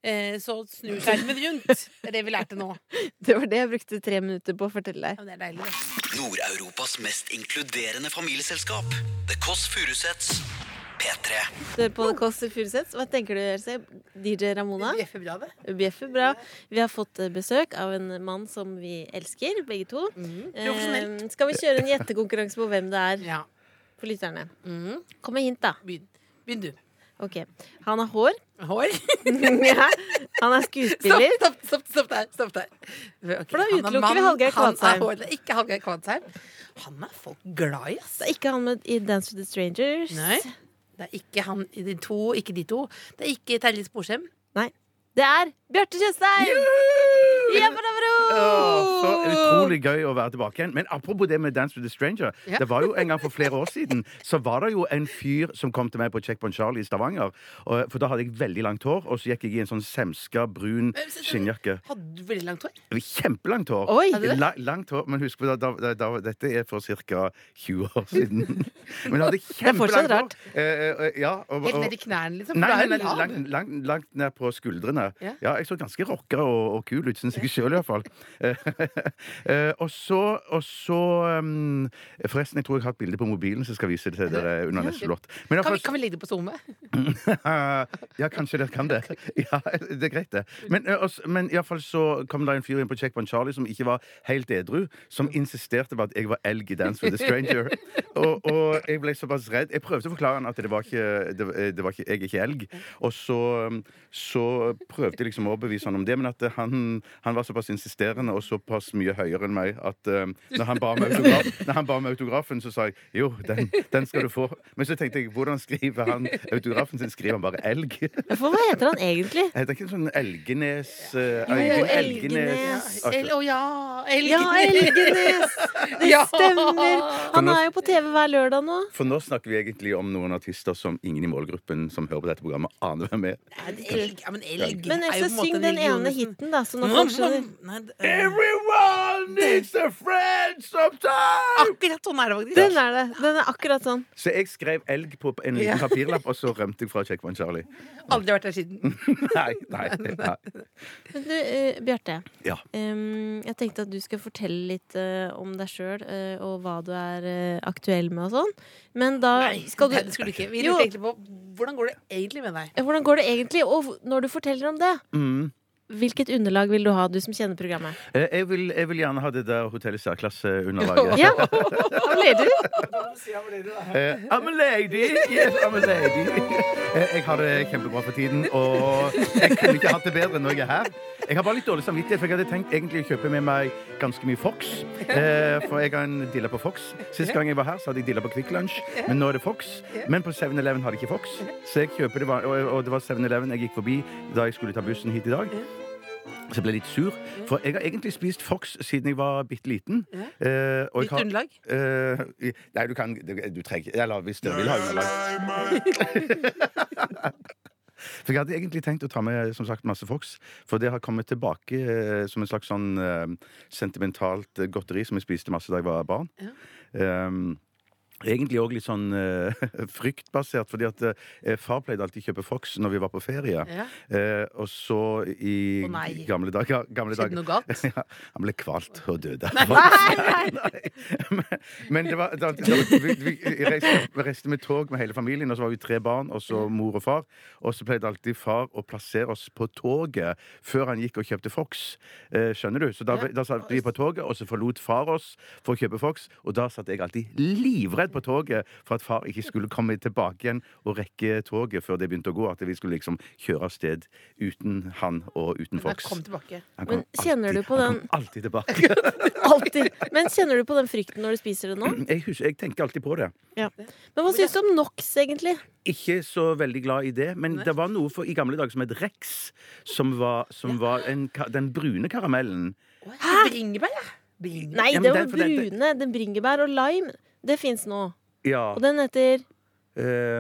Speaker 4: eh, så snur skjermen rundt. Det er det vi lærte nå.
Speaker 3: Det var det jeg brukte tre minutter på å fortelle deg.
Speaker 4: Ja, men det er deilig, det.
Speaker 2: Nord-Europas mest inkluderende familieselskap. The Kåss Furuseths. P3.
Speaker 3: Du hører eh, på The Kåss Furuseths. Hva tenker du, Else? DJ Ramona?
Speaker 4: Det bjeffer bra, det.
Speaker 3: Bjeffer, bra. Vi har fått eh, besøk av en mann som vi elsker, begge to.
Speaker 6: Mm.
Speaker 4: Profesjonell.
Speaker 3: Eh, skal vi kjøre en gjettekonkurranse på hvem det er
Speaker 4: Mm. Eh, Ja.
Speaker 3: for lytterne?
Speaker 6: Mm.
Speaker 4: Mhm.
Speaker 3: Kom med hint, da.
Speaker 4: Begynn. Begynn du.
Speaker 3: Ok. Han har hår.
Speaker 4: Hår?
Speaker 3: Ja. Han er
Speaker 4: Stopp,
Speaker 3: skuespiller.
Speaker 4: stopp, stopp, stopp der. Stopp der. Ok,
Speaker 3: For da
Speaker 4: han er
Speaker 3: utelukker vi
Speaker 4: mann,
Speaker 3: Hallgeir
Speaker 4: han er
Speaker 3: Kvadsheim.
Speaker 4: hår- det er Ikke Hallgeir Kvadsheim. Han er folk glad i, ass.
Speaker 3: Det er ikke han med i Dance with the Strangers.
Speaker 4: Nei. Det er ikke han i de to, ikke de to. Det er ikke Terje Sporsem.
Speaker 3: Det er Bjarte Tjøstheim! Jabba-dabba-do!
Speaker 6: Åh, Så utrolig gøy å være tilbake igjen. Men apropos det med Dance with a Stranger.
Speaker 4: Ja.
Speaker 6: Det var jo en gang for flere år siden Så var det jo en fyr som kom til meg på Checkpoint Charlie i Stavanger. Og, for da hadde jeg veldig langt hår, og så gikk jeg i en sånn semska, brun
Speaker 4: Men, så-
Speaker 6: skinnjakke.
Speaker 4: Hadde du veldig langt hår?
Speaker 6: Kjempelangt hår.
Speaker 3: Oi.
Speaker 4: Hadde du det?
Speaker 6: La, langt hår, men husk på da, da, da, da, Dette er for ca. 20 år siden. Men jeg
Speaker 3: fortsatt
Speaker 6: hadde kjempelangt
Speaker 3: rart.
Speaker 6: hår. Eh, eh, ja, og,
Speaker 4: Helt
Speaker 6: og,
Speaker 4: ned i knærne, liksom? For
Speaker 6: Nei,
Speaker 4: du er
Speaker 6: nei,
Speaker 4: jo
Speaker 6: nei
Speaker 4: lav.
Speaker 6: langt, langt, langt ned på skuldrene.
Speaker 4: Ja.
Speaker 6: Ja. Jeg så ganske rocker og, og kul ut, syns jeg sjøl iallfall. Eh, og så, og så um, Forresten, jeg tror jeg har et bilde på mobilen som skal vise det til dere under neste låt. Men
Speaker 4: Kan vi,
Speaker 6: iallfall-
Speaker 4: kan vi legge det på SoMe?
Speaker 6: ja, kanskje dere kan det. Ja, det er greit, det. Men, eh, også, men iallfall så kom det en fyr inn på Checkpoint Charlie som ikke var helt edru, som insisterte på at jeg var elg i Dance with a Stranger. Og, og jeg ble såpass redd. Jeg prøvde å forklare han at det var ikke, det, var- det var ikke jeg er ikke elg. Og så, um, så prøvde jeg liksom å overbevise han om det, men at eh, han, han var såpass insisterende og såpass mye høyere enn meg at eh, når, han ba om autograf, når han ba om autografen, så sa jeg jo, den, den skal du få. Men så tenkte jeg, hvordan skriver han autografen sin? Skriver han bare elg?
Speaker 3: For hva heter han egentlig?
Speaker 6: Heter ikke en sånn Elgenes eh,
Speaker 3: Jo,
Speaker 6: Øyvind
Speaker 3: Elgenes.
Speaker 6: Elgenes.
Speaker 4: El,
Speaker 6: Akkurat.
Speaker 4: å ja! Elgen.
Speaker 3: Ja, Elgenes! Det
Speaker 4: Ja.
Speaker 3: stemmer! Han er jo på TV hver lørdag nå.
Speaker 6: For nå snakker vi egentlig om noen artister som ingen i målgruppen som hører på dette programmet, aner hvem er.
Speaker 4: En elg, ja, men elg
Speaker 3: Men
Speaker 4: er
Speaker 3: Else,
Speaker 4: jo på en måte
Speaker 3: syng
Speaker 4: en
Speaker 3: den
Speaker 4: religion,
Speaker 3: ene
Speaker 4: liksom.
Speaker 3: hiten, da, så nå folk skjønner.
Speaker 4: Nei, det-
Speaker 6: Everyone needs a friend sometime!
Speaker 4: Akkurat sånn er det faktisk.
Speaker 3: Den er det. Den er akkurat sånn.
Speaker 6: Så jeg skrev elg på en liten papirlapp, og så rømte jeg fra Checkpoint Charlie.
Speaker 4: Aldri vært der siden.
Speaker 6: Nei, nei, nei.
Speaker 3: Men du, eh, Bjarte.
Speaker 6: Ja.
Speaker 3: Em, jeg tenkte at du skal fortelle litt eh, om deg sjøl og hva du er eh, aktuell med og sånn. Men da
Speaker 4: Nei,
Speaker 3: skal du
Speaker 4: nei, det skulle du ikke. Vi
Speaker 3: Jo.
Speaker 4: lurte egentlig på hvordan går det egentlig med deg.
Speaker 3: Eh, Hvordan går det egentlig? Og hvor- når du forteller om det,
Speaker 6: Mm.
Speaker 3: hvilket underlag vil du ha, du som kjenner programmet?
Speaker 6: Eh, Jeg, vil, jeg vil gjerne ha det der Hotell Særklasse-underlaget.
Speaker 3: Ja, hva ble du?
Speaker 6: Eh, I'm a lady! Yes, I'm a lady. Eh, jeg har det kjempebra for tiden, og jeg kunne ikke hatt det bedre enn når jeg er her. Jeg har bare litt dårlig samvittighet, for jeg hadde tenkt egentlig å kjøpe med meg ganske mye Fox. Eh, for jeg har en dilla på Fox. Sist gang jeg var her, så hadde jeg dilla på Kvikk Lunsj, men nå er det Fox. Men på 7-Eleven har de ikke Fox, så jeg kjøper det var, og, og det var 7-Eleven jeg gikk forbi da jeg skulle ta bussen hit i dag. Så jeg ble litt sur, for jeg har egentlig spist Fox siden jeg var bitte liten. Eh, og jeg
Speaker 4: Ditt
Speaker 6: har-
Speaker 4: underlag?
Speaker 6: Eh, i- nei, du kan du, du trenger Eller hvis dere vil ha underlag. For jeg hadde egentlig tenkt å ta med som sagt, masse Fox, for det har kommet tilbake eh, som en slags sånn eh, sentimentalt eh, godteri som jeg spiste masse da jeg var barn. Ehm, Egentlig òg litt sånn eh, fryktbasert, fordi at eh, far pleide alltid å kjøpe Fox når vi var på ferie.
Speaker 4: Ja.
Speaker 6: Eh, og så i
Speaker 4: Å, nei.
Speaker 6: gamle dager, gamle
Speaker 4: Skjedde
Speaker 6: dager
Speaker 4: noe galt?
Speaker 6: ja, han ble kvalt og døde. Nei, nei. Men det var, da, da, vi, vi reiste, vi reiste med tog med hele familien, og så var vi tre barn, og så
Speaker 3: Mm.
Speaker 6: mor og far. Og så pleide alltid far å plassere oss på toget før han gikk og kjøpte Fox. Eh, skjønner du? Så da, da satt vi på toget, og så forlot far oss for å kjøpe Fox. Og da satt jeg alltid livredd på toget for at far ikke skulle komme tilbake igjen og rekke toget før det begynte å gå. At vi skulle liksom kjøre av sted uten han og uten
Speaker 4: Men
Speaker 6: Fox.
Speaker 4: kom tilbake.
Speaker 6: Han
Speaker 3: Men
Speaker 6: kom
Speaker 3: kjenner
Speaker 6: alltid-
Speaker 3: du på
Speaker 6: han
Speaker 3: den-
Speaker 6: kom alltid tilbake.
Speaker 3: Alltid. Men kjenner du på den frykten når du spiser det nå?
Speaker 6: Jeg, husker, jeg tenker alltid på det.
Speaker 3: Men hva syns du om NOx, egentlig?
Speaker 6: Ikke så veldig glad i det, men det var noe for, i gamle dager som het Rex. Som var, som var en, ka- den brune karamellen.
Speaker 4: Hæ? Bringebær, ja. Bringebær.
Speaker 3: Nei,
Speaker 6: Ja, men
Speaker 3: det
Speaker 6: den-
Speaker 3: var
Speaker 6: for den-
Speaker 3: brune. Den bringebær og lime. Det fins nå.
Speaker 6: Ja.
Speaker 3: Og den heter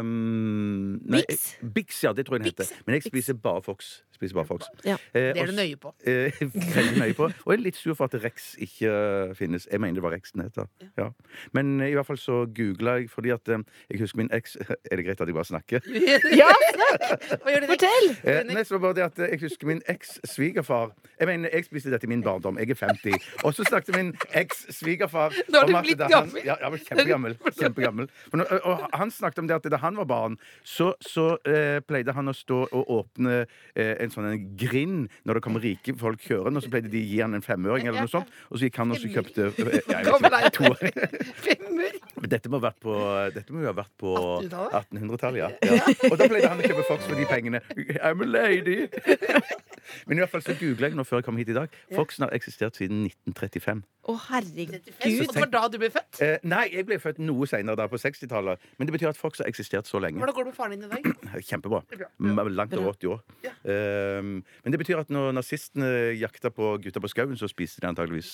Speaker 6: Ehm, nei,
Speaker 3: Bix?
Speaker 6: Bix, ja, det tror jeg den
Speaker 4: Bix,
Speaker 6: heter. Men jeg
Speaker 4: Bix.
Speaker 6: spiser bare Fox. Spiser bare Fox.
Speaker 3: Ja,
Speaker 6: Eh,
Speaker 4: Det er
Speaker 6: og
Speaker 4: du nøye på.
Speaker 6: Eh, veldig nøye på. Og jeg er litt sur for at Rex ikke eh, finnes. Jeg mener det var Rex den heter. Ja. Men eh, i hvert fall så googla jeg, fordi at eh, jeg husker min eks Er det greit at jeg bare snakker?
Speaker 4: Hva gjør du?
Speaker 3: Fortell!
Speaker 6: Eh, nei, så var det bare det at eh, jeg husker min eks-svigerfar Jeg mener, jeg spiste dette i min barndom. Jeg er 50. Og så snakket min eks-svigerfar
Speaker 4: Nå er du
Speaker 6: om at
Speaker 4: blitt
Speaker 6: da han-
Speaker 4: gammel.
Speaker 6: Ja, jeg var kjempegammel. kjempegammel. For nå- Og han snakket om det at da han var barn, så, så eh, pleide han å stå og åpne eh, en sånn en grind når det kom rike folk kjørende, og så pleide de å gi han en femøring eller noe sånt. Og så gikk han og så kjøpte eh, jeg vet ikke, toåring.
Speaker 4: Femmer?
Speaker 6: Men Dette må, ha vært på, dette må jo ha vært på
Speaker 4: 1800-tallet?
Speaker 6: 1800-tallet. Ja. Ja. Og da pleide han å kjøpe Fox for de pengene. I'm a lady! Men i hvert fall så googla jeg nå før jeg kom hit i dag. Foxen har eksistert siden 1935.
Speaker 3: Å, herregud.
Speaker 4: Gud, det var da du ble født?
Speaker 6: Eh, nei, jeg ble født noe seinere, da, på 60-tallet. Men det betyr at Fox har eksistert så lenge.
Speaker 4: Hvordan går det med faren din i dag?
Speaker 6: Kjempebra. M- Langt over 80 år. Ehm, men det betyr at når nazistene jakta på gutta på skauen, så spiste de antageligvis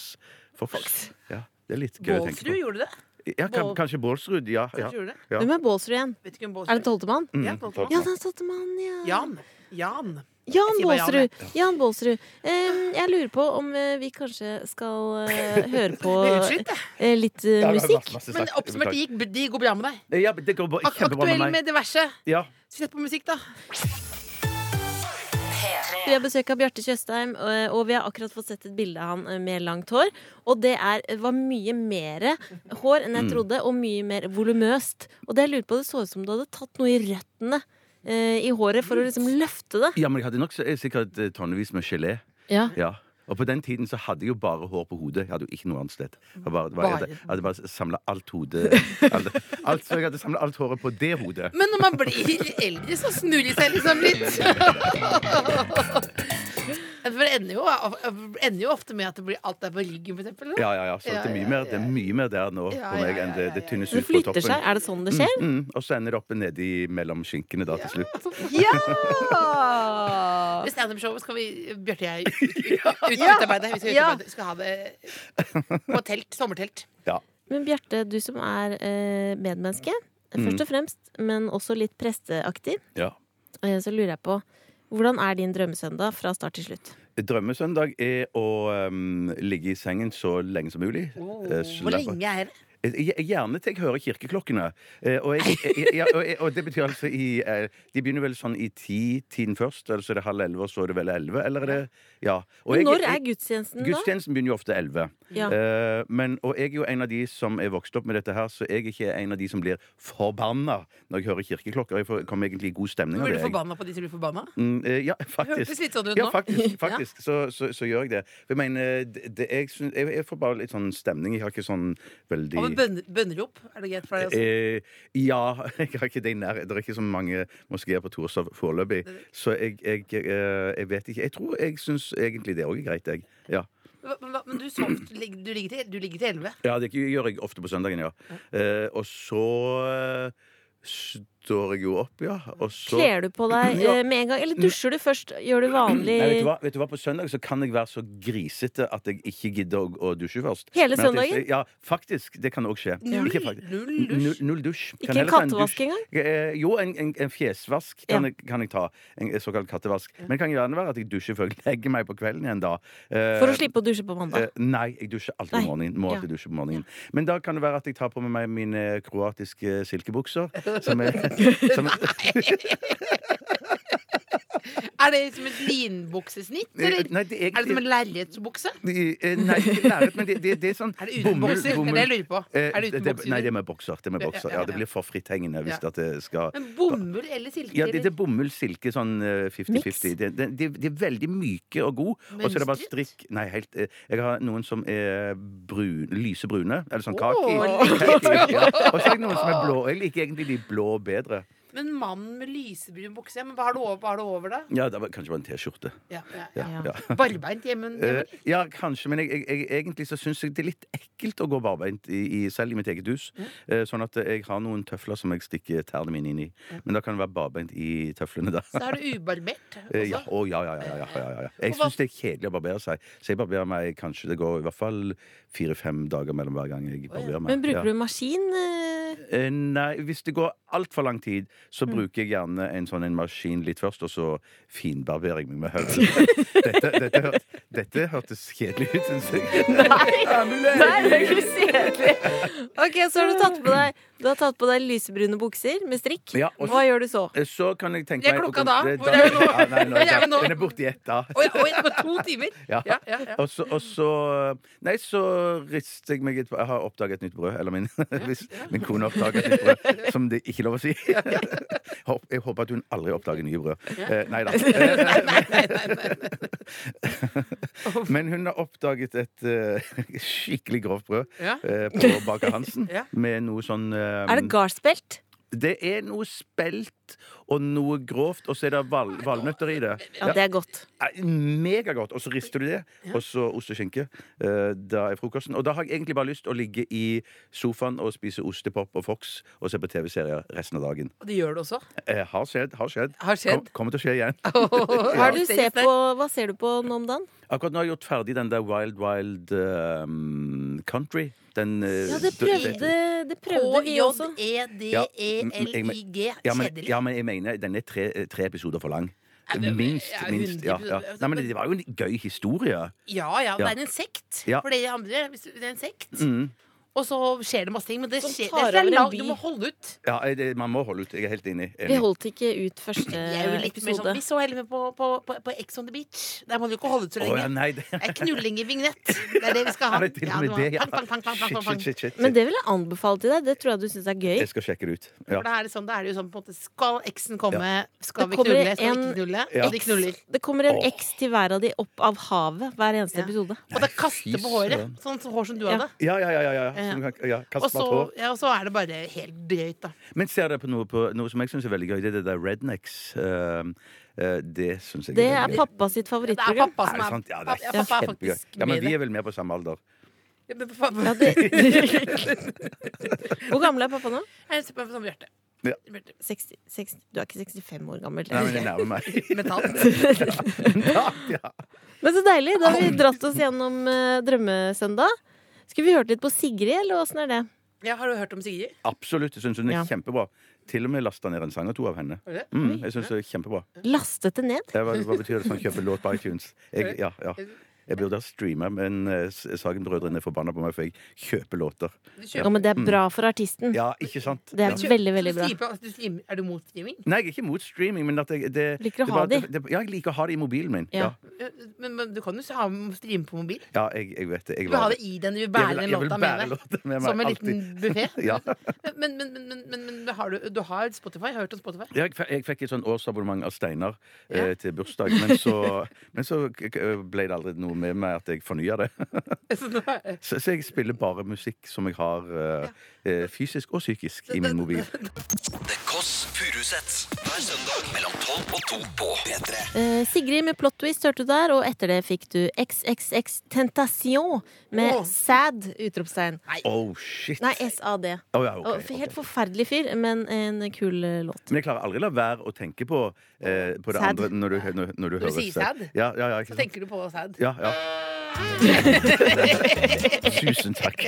Speaker 6: Fox. Ja, det er litt gøy å tenke
Speaker 4: Bålsrud
Speaker 6: på.
Speaker 4: gjorde det.
Speaker 6: Ja, kan,
Speaker 4: Bål-
Speaker 6: kanskje Bålsrud. Ja. ja.
Speaker 4: Kanskje gjorde det.
Speaker 6: Ja.
Speaker 3: Hvem er Bålsrud igjen?
Speaker 4: Vet ikke hvem
Speaker 3: Er det
Speaker 4: Bålsrud
Speaker 3: tolvtemann?
Speaker 6: Mm,
Speaker 4: Ja, Bålsrud.
Speaker 6: takk.
Speaker 3: Ja, det er tolvtemann, ja.
Speaker 4: Jan. Jan.
Speaker 3: Jan
Speaker 4: Jeg sier bare Jan,
Speaker 3: Bålsrud. Jan Bålsrud. Eh, jeg lurer på om eh, vi kanskje skal eh, høre på
Speaker 4: Blir utslitt, jeg.
Speaker 3: eh, litt eh,
Speaker 6: Ja, det var
Speaker 3: musikk.
Speaker 6: masse- masse
Speaker 4: Men
Speaker 6: snakk.
Speaker 4: oppsummert, det gikk- det går bra med deg.
Speaker 6: Ja, men det går bra-
Speaker 4: Ak
Speaker 6: kjempebra
Speaker 4: aktuell
Speaker 6: med meg.
Speaker 4: med diverse.
Speaker 6: Ja.
Speaker 4: Sett på musikk, da.
Speaker 3: Vi har besøk av Bjarte Tjøstheim, og og vi har akkurat fått sett et bilde av han eh, med langt hår. Og det er, eh, var mye mer hår enn
Speaker 6: Mm.
Speaker 3: jeg trodde, og mye mer volumøst. Og det jeg lurer på, det så ut som du hadde tatt noe i røttene eh, i håret for å liksom løfte det.
Speaker 6: ja, men jeg hadde nok så- eh, sikkert eh, tonnevis med gelé.
Speaker 3: Ja.
Speaker 6: Ja. Og på den tiden så hadde jeg jo bare hår på hodet. Jeg hadde jo ikke noe annet sted. Jeg, bare, det var-
Speaker 4: Bare.
Speaker 6: jeg, hadde- jeg hadde bare samla alt hodet alt, alt, Så jeg hadde samla alt håret på det hodet.
Speaker 4: Men når man blir eldre, så snur de seg liksom litt. For det ender jo, ender jo ofte med at det blir alt der på ryggen, for eksempel. da.
Speaker 6: Ja, ja, ja. Så
Speaker 4: Ja,
Speaker 6: det er mye
Speaker 4: ja,
Speaker 6: mer, det er
Speaker 4: ja.
Speaker 6: mye mer der nå
Speaker 4: Ja,
Speaker 6: på
Speaker 4: ja,
Speaker 6: meg
Speaker 4: ja,
Speaker 6: enn det, det
Speaker 4: ja, ja.
Speaker 6: tynnes
Speaker 3: Det
Speaker 6: ut på
Speaker 3: flytter
Speaker 6: toppen.
Speaker 3: seg. Er det sånn det skjer?
Speaker 6: Mm, og så ender det oppe nedi mellom skinkene da til slutt.
Speaker 3: Ja!
Speaker 4: Ved standup-showet skal vi Bjarte og jeg ut, ut, utarbeide. Vi skal,
Speaker 3: Ja.
Speaker 4: utarbeide. vi skal ha det på telt. Sommertelt.
Speaker 6: Ja.
Speaker 3: Men Bjarte, du som er eh, medmenneske,
Speaker 6: Mm.
Speaker 3: først og fremst, men også litt presteaktig,
Speaker 6: ja.
Speaker 3: eh, så lurer jeg på hvordan er din drømmesøndag fra start til slutt?
Speaker 6: Drømmesøndag er å ehm, ligge i sengen så lenge som mulig. Eh,
Speaker 4: Hvor
Speaker 6: slappe-
Speaker 4: lenge er det?
Speaker 6: Eh, Gjerne til jeg hører kirkeklokkene. Eh, Og, jeg, eh, ja, og, jeg- og det betyr altså i eh, De begynner vel sånn i ti-tiden først, eller så er det halv elleve, og så er det vel elleve, eller er det Ja. Og
Speaker 3: Men
Speaker 6: jeg-
Speaker 3: når er
Speaker 6: jeg-
Speaker 3: gudstjenesten, da?
Speaker 6: Gudstjenesten begynner jo ofte elleve.
Speaker 3: Ja.
Speaker 6: Eh, men, og jeg er jo en av de som er vokst opp med dette her, så jeg er ikke en av de som blir forbanna når jeg hører kirkeklokker. Jeg får- kommer egentlig i god stemning av
Speaker 4: Blir
Speaker 6: det.
Speaker 4: du
Speaker 6: jeg.
Speaker 4: forbanna på de som blir forbanna?
Speaker 6: Mm, eh, ja,
Speaker 4: Hørtes
Speaker 6: faktisk.
Speaker 4: litt sånn ut
Speaker 6: Ja,
Speaker 4: nå.
Speaker 6: faktisk, faktisk så, så, så gjør jeg det. For Jeg mener, det, det, jeg, syns- jeg, jeg får bare litt sånn stemning. Jeg har ikke sånn veldig
Speaker 4: Og med bønner- bønnerop, er det greit for deg også?
Speaker 6: Eh, ja, jeg har ikke det i nær Det er ikke så mange moskeer på Torshov foreløpig. Så jeg, jeg, eh, jeg vet ikke. Jeg tror jeg syns egentlig det òg er greit, jeg. Ja.
Speaker 4: Hva- Men, hva- men du, sov, du, ligger, du, ligger til, du ligger til 11?
Speaker 6: ja, det gjør jeg ofte på søndagen, ja. Eh, og så eh, står jeg jo opp, ja. Og så
Speaker 3: Kler du på deg
Speaker 6: Ja.
Speaker 3: eh, med en gang, eller dusjer du først? Gjør du vanlig
Speaker 6: Nei, vet, du hva? vet du hva, På søndag så kan jeg være så grisete at jeg ikke gidder å, å dusje først.
Speaker 3: Hele
Speaker 6: Men at jeg-
Speaker 3: søndagen?
Speaker 6: Ja, faktisk. Det kan òg skje.
Speaker 4: Null-
Speaker 6: Ikke faktisk-
Speaker 4: null dusj?
Speaker 6: Null, null dusj.
Speaker 3: Ikke
Speaker 6: Kan
Speaker 3: en
Speaker 6: heller ta dusj.
Speaker 3: kattevask engang?
Speaker 6: Eh, Jo, en, en, en fjesvask kan,
Speaker 3: Ja.
Speaker 6: jeg, kan jeg ta. En såkalt kattevask. Men det kan gjerne være at jeg dusjer før jeg legger meg på kvelden igjen da. Eh,
Speaker 3: for å slippe å dusje på mandag?
Speaker 6: Eh, nei, jeg dusjer alltid
Speaker 3: Nei.
Speaker 6: om morgenen. Må alltid
Speaker 3: Ja.
Speaker 6: dusje på morgenen. Men da kan det være at jeg tar på meg mine kroatiske silkebukser. Som er, som,
Speaker 4: Er det som et linbuksesnitt, eller?
Speaker 6: nei, det er,
Speaker 4: Er det som en lerretsbukse?
Speaker 6: Eh, Nei, ikke læret, men det, det, det er sånn
Speaker 4: Er det uten bokser? Det er det jeg lurer på.
Speaker 6: Eh,
Speaker 4: Er det uten
Speaker 6: det-
Speaker 4: bokser?
Speaker 6: Nei, det er med bokser. Det, er med
Speaker 4: Ja, ja,
Speaker 6: bokser.
Speaker 4: ja,
Speaker 6: Ja, det
Speaker 4: ja.
Speaker 6: blir for fritt hengende hvis
Speaker 4: Ja.
Speaker 6: at det skal
Speaker 4: Men bomull eller silke?
Speaker 6: ja, det, det
Speaker 4: eller?
Speaker 6: er bomull, silke, sånn eh, 50-50. De, de, de, de er veldig myke og gode. Og så er det bare
Speaker 4: Mønstret?
Speaker 6: strikk Nei, helt eh, Jeg har noen som er brun, lyse brune. Eller
Speaker 4: Åh.
Speaker 6: sånn kaki. Kaki, ja. Og så har jeg noen som er blå. Jeg liker egentlig de blå bedre.
Speaker 4: Men mannen med lysebrun bukse, ja, men hva har du over, hva har du over da?
Speaker 6: Ja, det var kanskje bare en T-skjorte.
Speaker 4: Ja, ja, ja.
Speaker 6: Ja,
Speaker 3: Ja.
Speaker 6: ja.
Speaker 4: Barbeint hjemme?
Speaker 6: Eh,
Speaker 4: hjemme.
Speaker 6: ja, kanskje, men jeg, jeg, jeg, egentlig så syns jeg det er litt ekkelt å gå barbeint, i, i, selv i mitt eget hus. Eh, sånn at eh, jeg har noen tøfler som jeg stikker tærne mine inn i. Men da kan det være barbeint i tøflene, da.
Speaker 4: Så er du ubarbert.
Speaker 6: Eh, ja.
Speaker 4: også.
Speaker 6: Å, ja, ja, ja, ja, ja, ja, ja. Jeg
Speaker 4: Altså? Og hva-
Speaker 6: syns det er kjedelig å barbere seg, så jeg barberer meg kanskje det går i hvert fall fire-fem dager mellom hver gang jeg barberer meg.
Speaker 3: Men bruker du
Speaker 6: ja.
Speaker 3: maskin eh,
Speaker 6: Eh, Nei, hvis det går altfor lang tid, så
Speaker 4: Mm.
Speaker 6: bruker jeg gjerne en sånn en maskin litt først, og så finbarberer jeg meg med høvelen. Dette, dette, hør- dette hørtes kjedelig ut, syns jeg.
Speaker 3: Nei, det er ikke så kjedelig. Ok, så har du tatt på deg Du har tatt på deg lysebrune bukser med strikk.
Speaker 6: Ja, og-
Speaker 3: Hva gjør du så?
Speaker 6: Eh, Så kan jeg tenke
Speaker 4: Det er
Speaker 6: meg
Speaker 4: klokka da.
Speaker 6: Det
Speaker 4: Hvor er vi nå?
Speaker 6: Ja, nei, nå er
Speaker 4: Hvor er vi
Speaker 6: jeg-
Speaker 4: nå?
Speaker 6: Den er borti ett, da.
Speaker 4: Oi, oi, det var to timer!
Speaker 6: Ja.
Speaker 4: Ja, ja, ja.
Speaker 6: Og så, og så Nei, så rister jeg meg et Jeg har oppdaget et nytt brød. Eller min, hvis min kone oppdager et nytt brød, som det ikke er lov å si. Håp- Jeg håper at hun aldri oppdager nye brød. Eh, nei da. Men hun har oppdaget et eh, skikkelig grovt brød
Speaker 4: Ja.
Speaker 6: eh, på Baker Hansen
Speaker 4: Ja.
Speaker 6: med noe sånn eh,
Speaker 3: Er det gardsbelt?
Speaker 6: det er noe spelt og noe grovt, og så er det val valnøtter i det.
Speaker 3: Ja, det er godt.
Speaker 6: Nei, Megagodt. Og så rister du det, og så ost og skinke. Eh, Da er frokosten. Og da har jeg egentlig bare lyst til å ligge i sofaen og spise ostepop og Fox og se på TV-serier resten av dagen.
Speaker 4: Og det gjør det også.
Speaker 6: Eh, Har skjedd, har skjedd.
Speaker 4: Har skjedd.
Speaker 6: Kom, kommer til å skje igjen.
Speaker 3: Hva, er det du ser på, hva ser du på nå om dagen?
Speaker 6: Akkurat nå har jeg gjort ferdig den der Wild Wild eh, Country. Den eh,
Speaker 3: Ja, det
Speaker 6: d-
Speaker 3: prøvde, det prøvde vi også.
Speaker 4: E K-J-E-D-E-L-I-G.
Speaker 6: ja, men,
Speaker 4: Kjedelig.
Speaker 6: ja, men jeg mener den er tre, eh, tre episoder for lang.
Speaker 4: Ja, men-
Speaker 6: Minst.
Speaker 4: ja,
Speaker 6: minst ja, ja.
Speaker 4: 100%.
Speaker 6: Nei, men det var jo en gøy historie.
Speaker 4: Ja, ja, det
Speaker 6: Ja.
Speaker 4: er en sekt.
Speaker 6: Ja.
Speaker 4: For dere andre, hvis du- det er en sekt.
Speaker 6: Mm.
Speaker 4: Og så skjer det masse ting. Men det
Speaker 3: Som
Speaker 4: skjer,
Speaker 3: tar
Speaker 4: det er
Speaker 3: over en
Speaker 4: langt,
Speaker 3: by.
Speaker 4: du må holde ut.
Speaker 6: Ja, eh, det, man må holde ut. Jeg er helt enig. enig.
Speaker 3: Vi holdt ikke ut første
Speaker 4: Jeg er jo litt mer sånn,
Speaker 3: episode.
Speaker 4: vi så heller med på, på, på, på Ex on the Beach. Der må du ikke holde ut så
Speaker 6: Å, ja,
Speaker 4: lenge.
Speaker 6: nei, det,
Speaker 4: Det er knulling i vignett. Det er det vi skal ha.
Speaker 6: Er det til og med
Speaker 4: du må-
Speaker 6: det? Ja.
Speaker 4: Pang, pang, pang, pang, pang,
Speaker 6: Shit,
Speaker 4: pang.
Speaker 6: shit, shit, shit.
Speaker 3: Men det vil jeg anbefale til deg. Det tror jeg du syns er gøy.
Speaker 6: Jeg skal sjekke det ut. Ja.
Speaker 4: For da er det sånn, da er det jo sånn på en måte Skal eksen komme? Skal
Speaker 3: Det
Speaker 4: vi
Speaker 3: kommer
Speaker 4: knulle? Skal vi
Speaker 3: en
Speaker 4: ikke knulle?
Speaker 6: Ja.
Speaker 4: Og de knuller.
Speaker 3: Det kommer en X til hver av de opp av havet hver eneste
Speaker 4: Ja.
Speaker 3: episode.
Speaker 4: Og da kaster på håret.
Speaker 6: søren.
Speaker 4: Sånn som hår som du
Speaker 3: Ja.
Speaker 4: hadde.
Speaker 6: Ja, ja, ja, ja, ja.
Speaker 4: Ja.
Speaker 6: Som kan- ja. Kast
Speaker 4: Og så,
Speaker 6: bart hår.
Speaker 4: ja, og så er det bare helt drøyt, da.
Speaker 6: Men ser dere på noe, på noe som jeg syns er veldig gøy? Det er det der Rednecks. ehm, eh, det syns jeg
Speaker 3: Det er
Speaker 6: veldig gøy.
Speaker 3: pappa sitt
Speaker 4: Det er
Speaker 3: favorittprogram.
Speaker 4: pappa
Speaker 6: Er
Speaker 4: som
Speaker 6: det
Speaker 4: er,
Speaker 6: sant? Ja, det er
Speaker 4: pappa er
Speaker 6: kjempegøy.
Speaker 4: faktisk
Speaker 6: Ja, men
Speaker 4: med i
Speaker 6: vi
Speaker 4: det.
Speaker 6: er vel mer på samme alder.
Speaker 4: Ja, men pappa-
Speaker 3: Ja, det... Hvor gammel er pappa nå?
Speaker 4: Jeg ser på som Bjarte.
Speaker 6: Ja.
Speaker 4: Bjarte.
Speaker 3: 60, 60. Du er ikke 65 år gammel.
Speaker 6: Nei, men jeg nærmer meg.
Speaker 4: Med tann.
Speaker 6: Ja, ja.
Speaker 3: Men så deilig. Da har vi dratt oss gjennom eh, drømmesøndag. Skulle vi hørt litt på Sigrid, eller åssen er det?
Speaker 4: Ja, har du hørt om Sigrid?
Speaker 6: Absolutt. Jeg syns hun er
Speaker 3: Ja.
Speaker 6: kjempebra. Til og med lasta ned en sang og to av henne.
Speaker 4: Har du det?
Speaker 6: Mm, jeg syns det er kjempebra.
Speaker 3: Lastet det ned?
Speaker 6: Jeg, hva, hva betyr det sånn kjøpe låt på iTunes? Jeg, ja, ja. Jeg burde ha streama, men eh, Sagen-brødrene er forbanna på meg, for jeg kjøper låter.
Speaker 3: Ja, men det er bra for artisten.
Speaker 6: Mm. Ja, ikke sant?
Speaker 3: Det er
Speaker 6: Ja.
Speaker 3: veldig, veldig bra.
Speaker 4: Du streamer- altså, du streamer- Er du mot streaming?
Speaker 6: Nei, jeg er ikke mot streaming, men at jeg, det,
Speaker 3: Liker å
Speaker 6: det
Speaker 3: ha de.
Speaker 6: bare- det- det- Ja, jeg liker å ha de i mobilen min.
Speaker 3: Ja.
Speaker 6: Ja,
Speaker 4: Men, men du kan jo ha streame på mobil.
Speaker 6: ja jeg, jeg vet det. Jeg
Speaker 4: Du vil ha
Speaker 6: var-
Speaker 4: det i den, du vil
Speaker 6: Jeg vil-
Speaker 4: bære den
Speaker 6: jeg vil
Speaker 4: låta
Speaker 6: bære
Speaker 4: med deg.
Speaker 6: låta med meg
Speaker 4: Som en liten
Speaker 6: alltid.
Speaker 4: buffé.
Speaker 6: Ja.
Speaker 4: Men, men, men, men, men, men har du, du har Spotify? Har du hørt om Spotify?
Speaker 6: Jeg, f- jeg fikk et sånn årsabonnement av Steinar
Speaker 4: Ja.
Speaker 6: eh, til bursdag, men så, men så k- k- ble det aldri noe med meg at jeg fornya det.
Speaker 4: Så nå er-
Speaker 6: Så, så jeg spiller bare musikk som jeg har eh, eh, fysisk og psykisk i min mobil.
Speaker 2: The Koss Furusets. Hver søndag mellom 12 og 2 på P3.
Speaker 3: Eh, Sigrid med Plot Twist hørte du der, og etter det fikk du XXX Tentation med
Speaker 4: Åh.
Speaker 3: Sad! utropstegn.
Speaker 6: Oh, shit!
Speaker 3: Nei, SAD.
Speaker 6: Å, ja,
Speaker 3: Og
Speaker 6: ok,
Speaker 3: f-
Speaker 6: ok.
Speaker 3: Helt forferdelig fyr, men en kul eh, låt.
Speaker 6: Men jeg klarer aldri la være å tenke på, eh, på det
Speaker 3: Sad.
Speaker 6: andre når du, når, når du
Speaker 4: Når du
Speaker 6: hører
Speaker 4: sier sad?
Speaker 6: Ja, ja, ja, ikke
Speaker 4: så
Speaker 6: sant?
Speaker 4: tenker du på sad.
Speaker 6: Ja, ja. Tusen takk.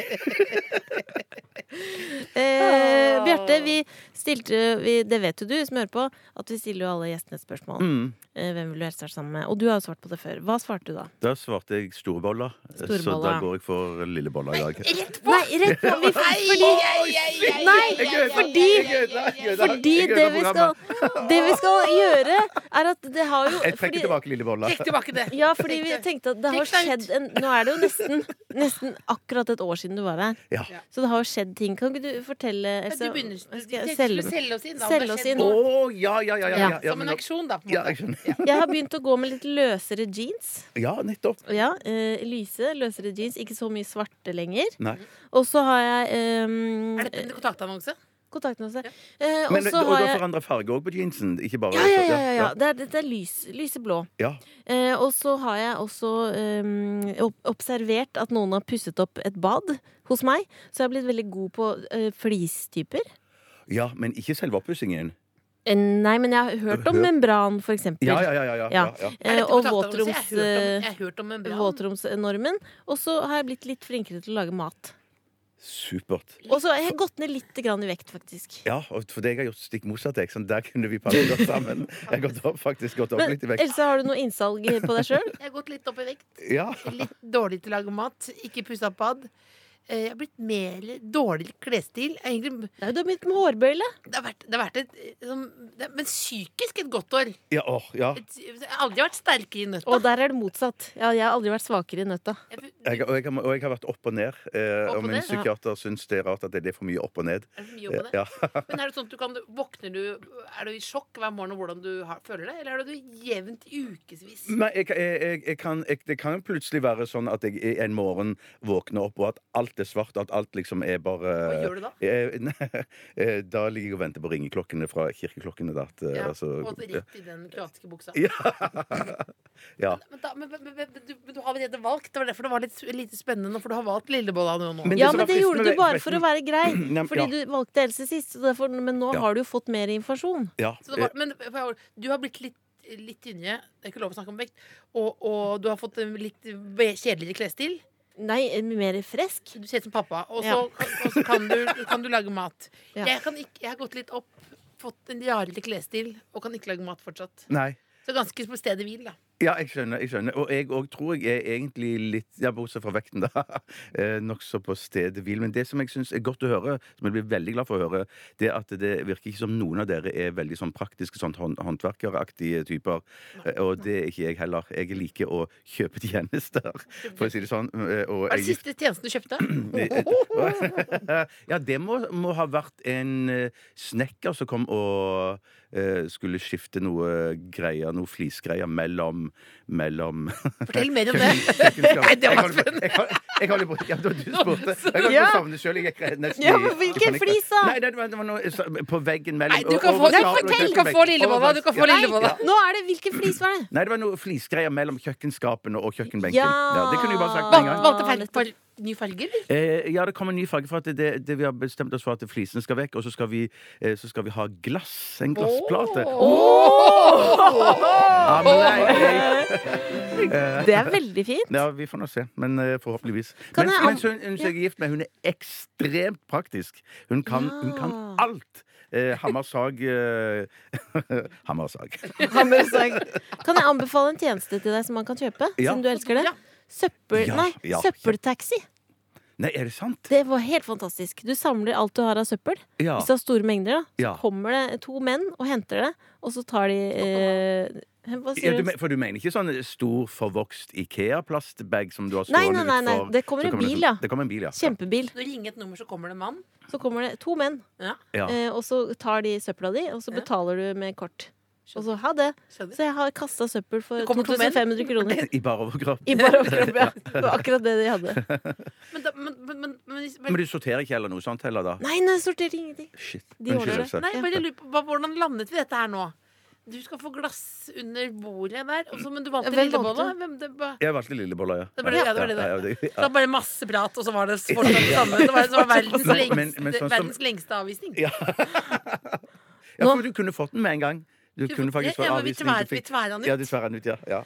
Speaker 3: Eh, Bjarte, vi stilte vi, Det vet jo du som hører på, at vi stiller jo alle gjestene et spørsmål.
Speaker 6: Mm.
Speaker 3: Eh, hvem vil du helst være sammen med? Og du har jo svart på det før. Hva svarte du da?
Speaker 6: Da svarte jeg store boller,
Speaker 3: Store
Speaker 6: så
Speaker 3: boller,
Speaker 6: da
Speaker 3: ja.
Speaker 6: går jeg for lille boller i dag.
Speaker 3: Nei, rett på! Vi, fordi Nei, fordi fordi det vi, skal, det vi skal gjøre, er at det har jo
Speaker 6: Jeg trekker
Speaker 3: fordi-
Speaker 6: tilbake lille boller.
Speaker 4: Trekk tilbake det.
Speaker 3: Ja, fordi vi tenkte at det har
Speaker 4: Sjekk deg ut.
Speaker 3: skjedd en, Nå er det jo nesten, nesten akkurat et år siden du var her.
Speaker 6: Ja.
Speaker 3: Så det har jo skjedd ting. Kan ikke du fortelle
Speaker 4: Du
Speaker 3: Else?
Speaker 4: begynner du
Speaker 3: Skal jeg
Speaker 4: selge,
Speaker 3: selge-
Speaker 4: altså, selge oss inn. da, om
Speaker 3: selge
Speaker 4: det har
Speaker 3: oss
Speaker 4: skjedd
Speaker 3: inn.
Speaker 6: Å,
Speaker 4: noe.
Speaker 6: ja, ja, ja. ja, ja, ja,
Speaker 4: Som
Speaker 6: men
Speaker 4: en
Speaker 6: da-
Speaker 4: aksjon, da. På en
Speaker 6: ja,
Speaker 4: måte.
Speaker 6: jeg skjønner.
Speaker 3: Jeg har begynt å gå med litt løsere jeans.
Speaker 6: Ja, nettopp.
Speaker 3: Ja, eh, Lyse, løsere jeans. Ikke så mye svarte lenger.
Speaker 6: Nei.
Speaker 3: Og så har jeg um,
Speaker 4: Er dette en kontaktannonse?
Speaker 3: kontaktannonse. Eh, og
Speaker 6: Men,
Speaker 3: så
Speaker 6: og du
Speaker 3: har
Speaker 6: har
Speaker 3: jeg
Speaker 6: forandra farge òg på jeansen. Ikke bare
Speaker 3: ja, ja, ja, ja, ja. Det er, dette er lys, lyseblå.
Speaker 6: Ja.
Speaker 3: Eh, og så har jeg også eh, ob- observert at noen har pusset opp et bad hos meg. Så jeg har blitt veldig god på eh, flistyper.
Speaker 6: Ja, men ikke selve oppussingen.
Speaker 3: Eh, nei, men jeg har hørt om
Speaker 6: Hør-
Speaker 3: membran, for eksempel.
Speaker 6: Ja, ja, ja. ja, ja, ja.
Speaker 3: Ja.
Speaker 6: ja.
Speaker 4: Er
Speaker 3: Eh,
Speaker 4: dette
Speaker 3: og
Speaker 4: kontaktannonse?
Speaker 3: våtroms,
Speaker 4: Jeg har hørt om-
Speaker 3: eh,
Speaker 4: jeg har hørt om en
Speaker 3: våtromsnormen.
Speaker 4: brann.
Speaker 3: Og så har jeg blitt litt flinkere til å lage mat.
Speaker 6: Supert.
Speaker 3: Og så har jeg gått ned litt grann i vekt, faktisk.
Speaker 6: Ja, og for det jeg har gjort stikk motsatt, jeg, sånn, der kunne vi passet godt sammen. Jeg har gått opp, faktisk gått opp
Speaker 3: Men
Speaker 6: litt i vekt.
Speaker 3: Else, har du noe innsalg på deg sjøl?
Speaker 4: Jeg har gått litt opp i vekt.
Speaker 6: Ja.
Speaker 4: Litt dårlig til å lage mat. Ikke pussa opp bad. Eh, Jeg har blitt mer dårlig til klesstil. Jeg har Egentlig,
Speaker 3: Du har begynt med hårbøyle.
Speaker 4: det, har vært, det har vært et eh, sånn- det, Men psykisk et godt år.
Speaker 6: Ja, åh, ja.
Speaker 4: Et, jeg har aldri vært sterkere i nøtta.
Speaker 3: Og der er det motsatt. Ja, jeg har aldri vært svakere i nøtta.
Speaker 4: Jeg,
Speaker 6: Jeg, og, jeg, har- og jeg har vært opp og ned. Eh,
Speaker 4: Opp og
Speaker 6: og min
Speaker 4: ned, ja.
Speaker 6: psykiater syns det er rart at det er for mye opp og ned. eh,
Speaker 4: er det mye jobb med det?
Speaker 6: Ja.
Speaker 4: Men er det sånn at du kan, våkner du Er du i sjokk hver morgen om hvordan du har, føler det, eller er det du jevnt i ukevis?
Speaker 6: Nei, jeg, jeg, jeg, jeg kan, jeg, det kan jo plutselig være sånn at jeg i en morgen våkner opp, og at alt er svart, og at alt liksom er bare
Speaker 4: Hva gjør du da?
Speaker 6: Eh, nei, eh, da ligger jeg og venter på ringeklokkene fra kirkeklokkene. Da, at, eh,
Speaker 4: Ja,
Speaker 6: altså-
Speaker 4: og rett i den kroatiske buksa.
Speaker 6: ja.
Speaker 4: Men, da, men, men, men, men, du, men du har allerede valgt. Det var derfor det var litt lite spennende nå, for du har valgt lillebolla nå. nå.
Speaker 6: Men det
Speaker 3: Ja,
Speaker 6: som
Speaker 3: men
Speaker 6: var
Speaker 3: det gjorde
Speaker 6: fristende
Speaker 3: du
Speaker 6: ved-
Speaker 3: bare for å være grei.
Speaker 6: Nei, men-
Speaker 3: Fordi
Speaker 6: ja.
Speaker 3: du valgte Else sist. Så derfor, men nå
Speaker 6: Ja.
Speaker 3: har du jo fått mer informasjon.
Speaker 6: ja.
Speaker 4: Så det var, men for jeg var- du har blitt litt Litt tynnere, det er ikke lov å snakke om vekt. Og, og du har fått en litt ve- kjedeligere klesstil.
Speaker 3: Nei, mer fresk.
Speaker 4: Du ser ut som pappa. Og så
Speaker 3: Ja.
Speaker 4: og så kan, du- kan du lage mat.
Speaker 3: Ja.
Speaker 4: Jeg, kan ikke, jeg har gått litt opp, fått en rarere klesstil og kan ikke lage mat fortsatt.
Speaker 6: eh, Nei.
Speaker 4: Så ganske på stedet hvil, da.
Speaker 6: Ja, jeg skjønner. jeg skjønner Og jeg òg tror jeg er egentlig litt Ja, Bortsett fra vekten, da. eh, Nokså på stedet hvil. Men det som jeg syns er godt å høre, som jeg blir veldig glad for å høre, det er at det virker ikke som noen av dere er veldig sånn praktiske, sånn hånd håndverkeraktige typer. Eh, Og det er ikke jeg heller. Jeg liker å kjøpe tjenester, for å si det sånn. eh, Og
Speaker 4: Hva er
Speaker 6: jeg-
Speaker 4: det siste tjenesten du kjøpte?
Speaker 6: ja, det må, må ha vært en eh, snekker som kom og eh, skulle skifte noe greier, noe flisgreier mellom, mellom
Speaker 4: Fortell mer om det.
Speaker 6: kjøkkenskap.
Speaker 4: Det
Speaker 6: Jeg
Speaker 4: var
Speaker 6: holder på- jeg holder- jeg holder på ja, det var du som spurte. Jeg holder på
Speaker 3: Ja.
Speaker 6: å savne sjøl. Jeg gikk nesten
Speaker 3: Ja,
Speaker 6: i-
Speaker 3: men hvilken
Speaker 6: i panikk.
Speaker 3: flis da?
Speaker 6: Nei, det var, det var noe så- på veggen mellom
Speaker 4: Nei, du kan
Speaker 6: over
Speaker 4: få, nei, fortell!
Speaker 6: skapet og
Speaker 4: Du kan få
Speaker 6: kjøkkenbenken.
Speaker 4: lillebolla. Du kan få
Speaker 6: Ja.
Speaker 4: lillebolla.
Speaker 3: Nå er det Hvilken flis var det?
Speaker 6: Nei, det var noe flisgreier mellom kjøkkenskapene og kjøkkenbenken.
Speaker 3: Ja.
Speaker 6: det kunne jeg bare sagt med en gang.
Speaker 4: Valg- Valgte feil
Speaker 3: nettopp.
Speaker 4: farge- ny farge, eller?
Speaker 6: Eh, ja, det kommer en ny farge. For at det, det, det vi har bestemt oss for at flisene skal vekk. Og så skal vi, eh, så skal vi ha glass. En glassplate. Ja, men nei,
Speaker 3: Det er veldig fint.
Speaker 6: ja, vi får nå se. Men eh, forhåpentligvis.
Speaker 3: Kan
Speaker 6: men
Speaker 3: jeg an-
Speaker 6: mens hun, hun som jeg er gift med, hun er ekstremt praktisk. Hun kan, hun kan
Speaker 3: Ja.
Speaker 6: alt. Eh, Hammersag eh, Hammersag.
Speaker 3: Kan jeg anbefale en tjeneste til deg som man kan kjøpe?
Speaker 6: Ja.
Speaker 3: Siden du elsker det? Søppel,
Speaker 6: Ja,
Speaker 3: nei,
Speaker 6: ja, ja.
Speaker 3: søppeltaxi.
Speaker 6: Nei, er det sant?
Speaker 3: Det var helt fantastisk. Du samler alt du har av søppel.
Speaker 6: Ja.
Speaker 3: Hvis du har store mengder, da,
Speaker 6: Ja.
Speaker 3: så kommer det to menn og henter det. Og så tar de eh, Hva
Speaker 6: Ja,
Speaker 3: sier
Speaker 6: du,
Speaker 3: du?
Speaker 6: men- for du mener ikke sånn stor, forvokst Ikea-plastbag som du har
Speaker 3: Nei,
Speaker 6: stående
Speaker 3: nei, nei, nei.
Speaker 6: utfor?
Speaker 3: Det kommer
Speaker 6: Så
Speaker 3: en bil,
Speaker 6: sånn-
Speaker 3: ja.
Speaker 6: Det kommer en bil, ja.
Speaker 3: Kjempebil.
Speaker 4: Når du ringer et nummer, så kommer det en mann.
Speaker 3: Så kommer det to menn,
Speaker 4: Ja,
Speaker 6: Ja.
Speaker 3: eh, og så tar de søpla di, og så
Speaker 4: Ja.
Speaker 3: betaler du med kort. Og så ha det.
Speaker 4: skjønner
Speaker 3: Så jeg har kasta søppel for
Speaker 4: Det kommer to menn.
Speaker 3: 2500 kroner.
Speaker 6: I bar overkropp.
Speaker 3: I bare overkropp, ja. Det var akkurat det de hadde.
Speaker 4: Men, da, men, men, men, men,
Speaker 6: Men du sorterer ikke heller noe sånt heller, da?
Speaker 3: Nei, nei, jeg sorterer ingenting.
Speaker 6: Shit.
Speaker 3: De ordner det.
Speaker 6: Else.
Speaker 4: Nei, bare lurer på hva- hvordan landet vi dette her nå? Du skal få glass under bordet der, og så- men du valgte
Speaker 3: Hvem
Speaker 4: lillebolla.
Speaker 3: valgte?
Speaker 4: Hvem det var?
Speaker 6: Jeg valgte lillebolla, ja.
Speaker 4: Det var det- ja, det var det der.
Speaker 6: ja, det-
Speaker 4: Det var bare masse prat, og så var det fortsatt det samme. Det var, det var verdens,
Speaker 6: Men-
Speaker 4: lengste,
Speaker 6: men- men sånn som-
Speaker 4: verdens lengste avvisning.
Speaker 6: Ja. ja, for du kunne fått den med en gang. Du kunne faktisk
Speaker 4: ja, ja,
Speaker 6: vært
Speaker 4: men vi
Speaker 6: avvisning.
Speaker 4: tver-
Speaker 6: du fikk-
Speaker 4: vi tverra den ut.
Speaker 6: Ja, du tverra den ut, ja. ja.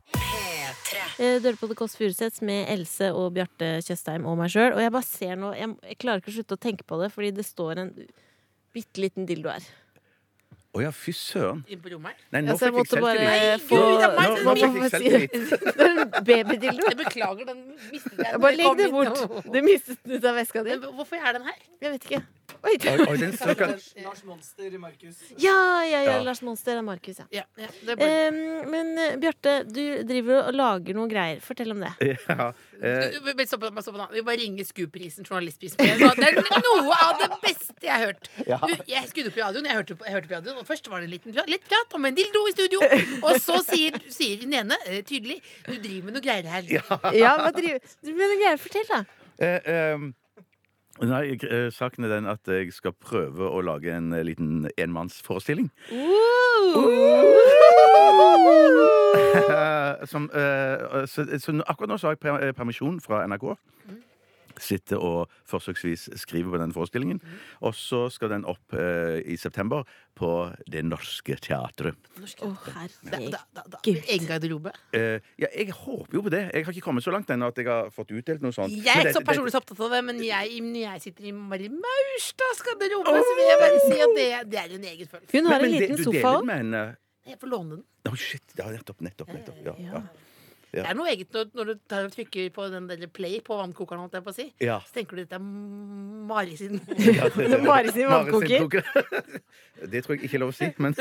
Speaker 3: Eh, Du hører på The Kåss Furuseths med Else og Bjarte Tjøstheim og meg sjøl. Og jeg bare ser nå jeg, jeg klarer ikke å slutte å tenke på det, fordi det står en bitte liten dildo her.
Speaker 6: Å ja, fy søren.
Speaker 4: Inn på rommet her.
Speaker 6: Nei, nå
Speaker 3: Ja, så jeg
Speaker 6: fikk Altså, jeg
Speaker 3: måtte bare
Speaker 6: selvtillit.
Speaker 3: få
Speaker 4: Gud, det er meg
Speaker 6: Nå,
Speaker 4: som
Speaker 6: nå
Speaker 4: fikk
Speaker 6: fikk jeg selvtillit.
Speaker 3: Det er en babydildo.
Speaker 4: Jeg beklager, den mistet jeg.
Speaker 3: Bare
Speaker 4: kom
Speaker 3: legg det
Speaker 4: inn.
Speaker 3: bort. Du mistet den ut av veska di.
Speaker 4: Men Hvorfor er den her?
Speaker 3: Jeg vet ikke. Oi,
Speaker 6: Oi, oi, den stakkar.
Speaker 7: Lars Monster, Markus.
Speaker 3: Ja, ja, ja,
Speaker 6: Ja.
Speaker 3: Lars Monster er Markus, ja.
Speaker 4: Ja, ja, det er bare-
Speaker 3: Em, men eh, Bjarte, du driver og lager noen greier. Fortell om det.
Speaker 6: Ja. eh,
Speaker 4: Du- du- Stopp, stopp, stopp, da. Vi bare ringer SKUP-prisen, journalistprisen. Det er noe av det beste jeg har hørt. Du, jeg skrudde opp radioen, jeg hørte, på, jeg hørte på radioen, og først var det en liten prat, litt prat om en dildo i studio. Og så sier, sier den ene eh, tydelig du driver med noe greier her.
Speaker 3: Ja, hva driver du med noen greier? Fortell, da.
Speaker 6: eh, ehm, Nei, jeg- eh, saken er den at jeg skal prøve å lage en eh, liten enmannsforestilling. Eh, som, eh, så, så nå- akkurat nå så har jeg per- eh, permisjon fra NRK. sitte og forsøksvis skrive på den forestillingen. Og så skal den opp eh, i september på Det Norske Teatret.
Speaker 3: Å,
Speaker 4: Da, da,
Speaker 3: herregud.
Speaker 4: da, da.
Speaker 3: Gud.
Speaker 4: Egen garderobe.
Speaker 6: Eh, ja, jeg håper jo på det. Jeg har ikke kommet så langt ennå at jeg har fått utdelt noe sånt.
Speaker 4: Jeg er
Speaker 6: Men
Speaker 4: ikke så
Speaker 6: dette-
Speaker 4: personlig så opptatt av det, men jeg, når jeg sitter i Mari Maurstads garderobe, så vil jeg bare si at det, det er en egen følelse.
Speaker 3: Hun
Speaker 6: Men-
Speaker 3: har en
Speaker 6: men det-
Speaker 3: liten
Speaker 6: du
Speaker 3: sofa
Speaker 6: deler den
Speaker 3: òg.
Speaker 6: med henne.
Speaker 4: Jeg får låne den.
Speaker 6: Å, shit. Ja, nettopp. Nettopp. nettopp. Ja, ja.
Speaker 4: Det er noe eget når, når du tar og trykker på den der play på vannkokeren, holdt jeg på å si.
Speaker 6: ja.
Speaker 4: Så tenker du dette er Mari sin
Speaker 6: ja det,
Speaker 3: Det er Mari sin
Speaker 6: Mari
Speaker 3: vannkoker.
Speaker 6: koker. Det tror jeg ikke er lov å si, men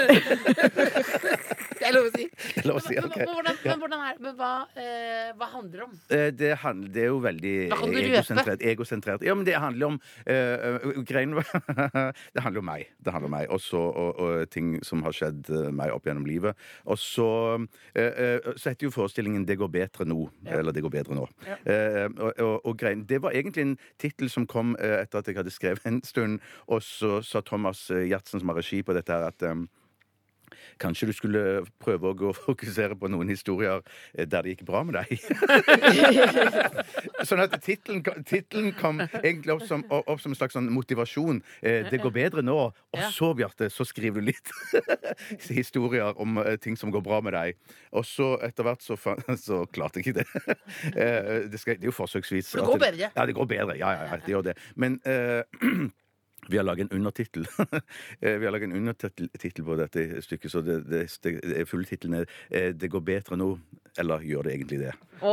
Speaker 4: Det er lov å si.
Speaker 6: det er lov å si.
Speaker 4: Men,
Speaker 6: ok.
Speaker 4: men, men, hvordan, men, hvordan er, men hva, eh, hva handler det om?
Speaker 6: Eh, Det, handler, det er jo veldig
Speaker 4: Da kan du røpe.
Speaker 6: egosentrert, egosentrert. Ja, men det handler om eh, eh, greien var- Det handler om meg. Det handler om meg også, og, og ting som har skjedd eh, meg opp gjennom livet. Og så, eh, eh, så heter jo forestillingen 'Det går bedre nå'. Eller 'Det går bedre nå'. Eh, og, og, og greien, Det var egentlig en tittel som kom eh, etter at jeg hadde skrevet en stund, og så sa Thomas eh, Gjertsen, som har regi på dette, her at eh, Kanskje du skulle prøve å gå og fokusere på noen historier eh, der det gikk bra med deg? sånn at tittelen kom- tittelen kom egentlig opp som, opp som en slags sånn motivasjon. Eh, Det går bedre nå. Og så, Bjarte, så skriver du litt historier om eh, ting som går bra med deg. Og så etter hvert så, fa- så klarte jeg ikke det. Eh, Det, skal, det er jo forsøksvis
Speaker 4: For det går
Speaker 6: at
Speaker 4: bedre.
Speaker 6: Ja, det går bedre. Ja, ja, ja, det gjør det. Men eh, vi har laget en undertittel Eh, Vi har laget en undertittel tittel på dette stykket, så det, det, det fulle tittelen er eh, 'Det går bedre nå'. Eller gjør det egentlig det? Eh,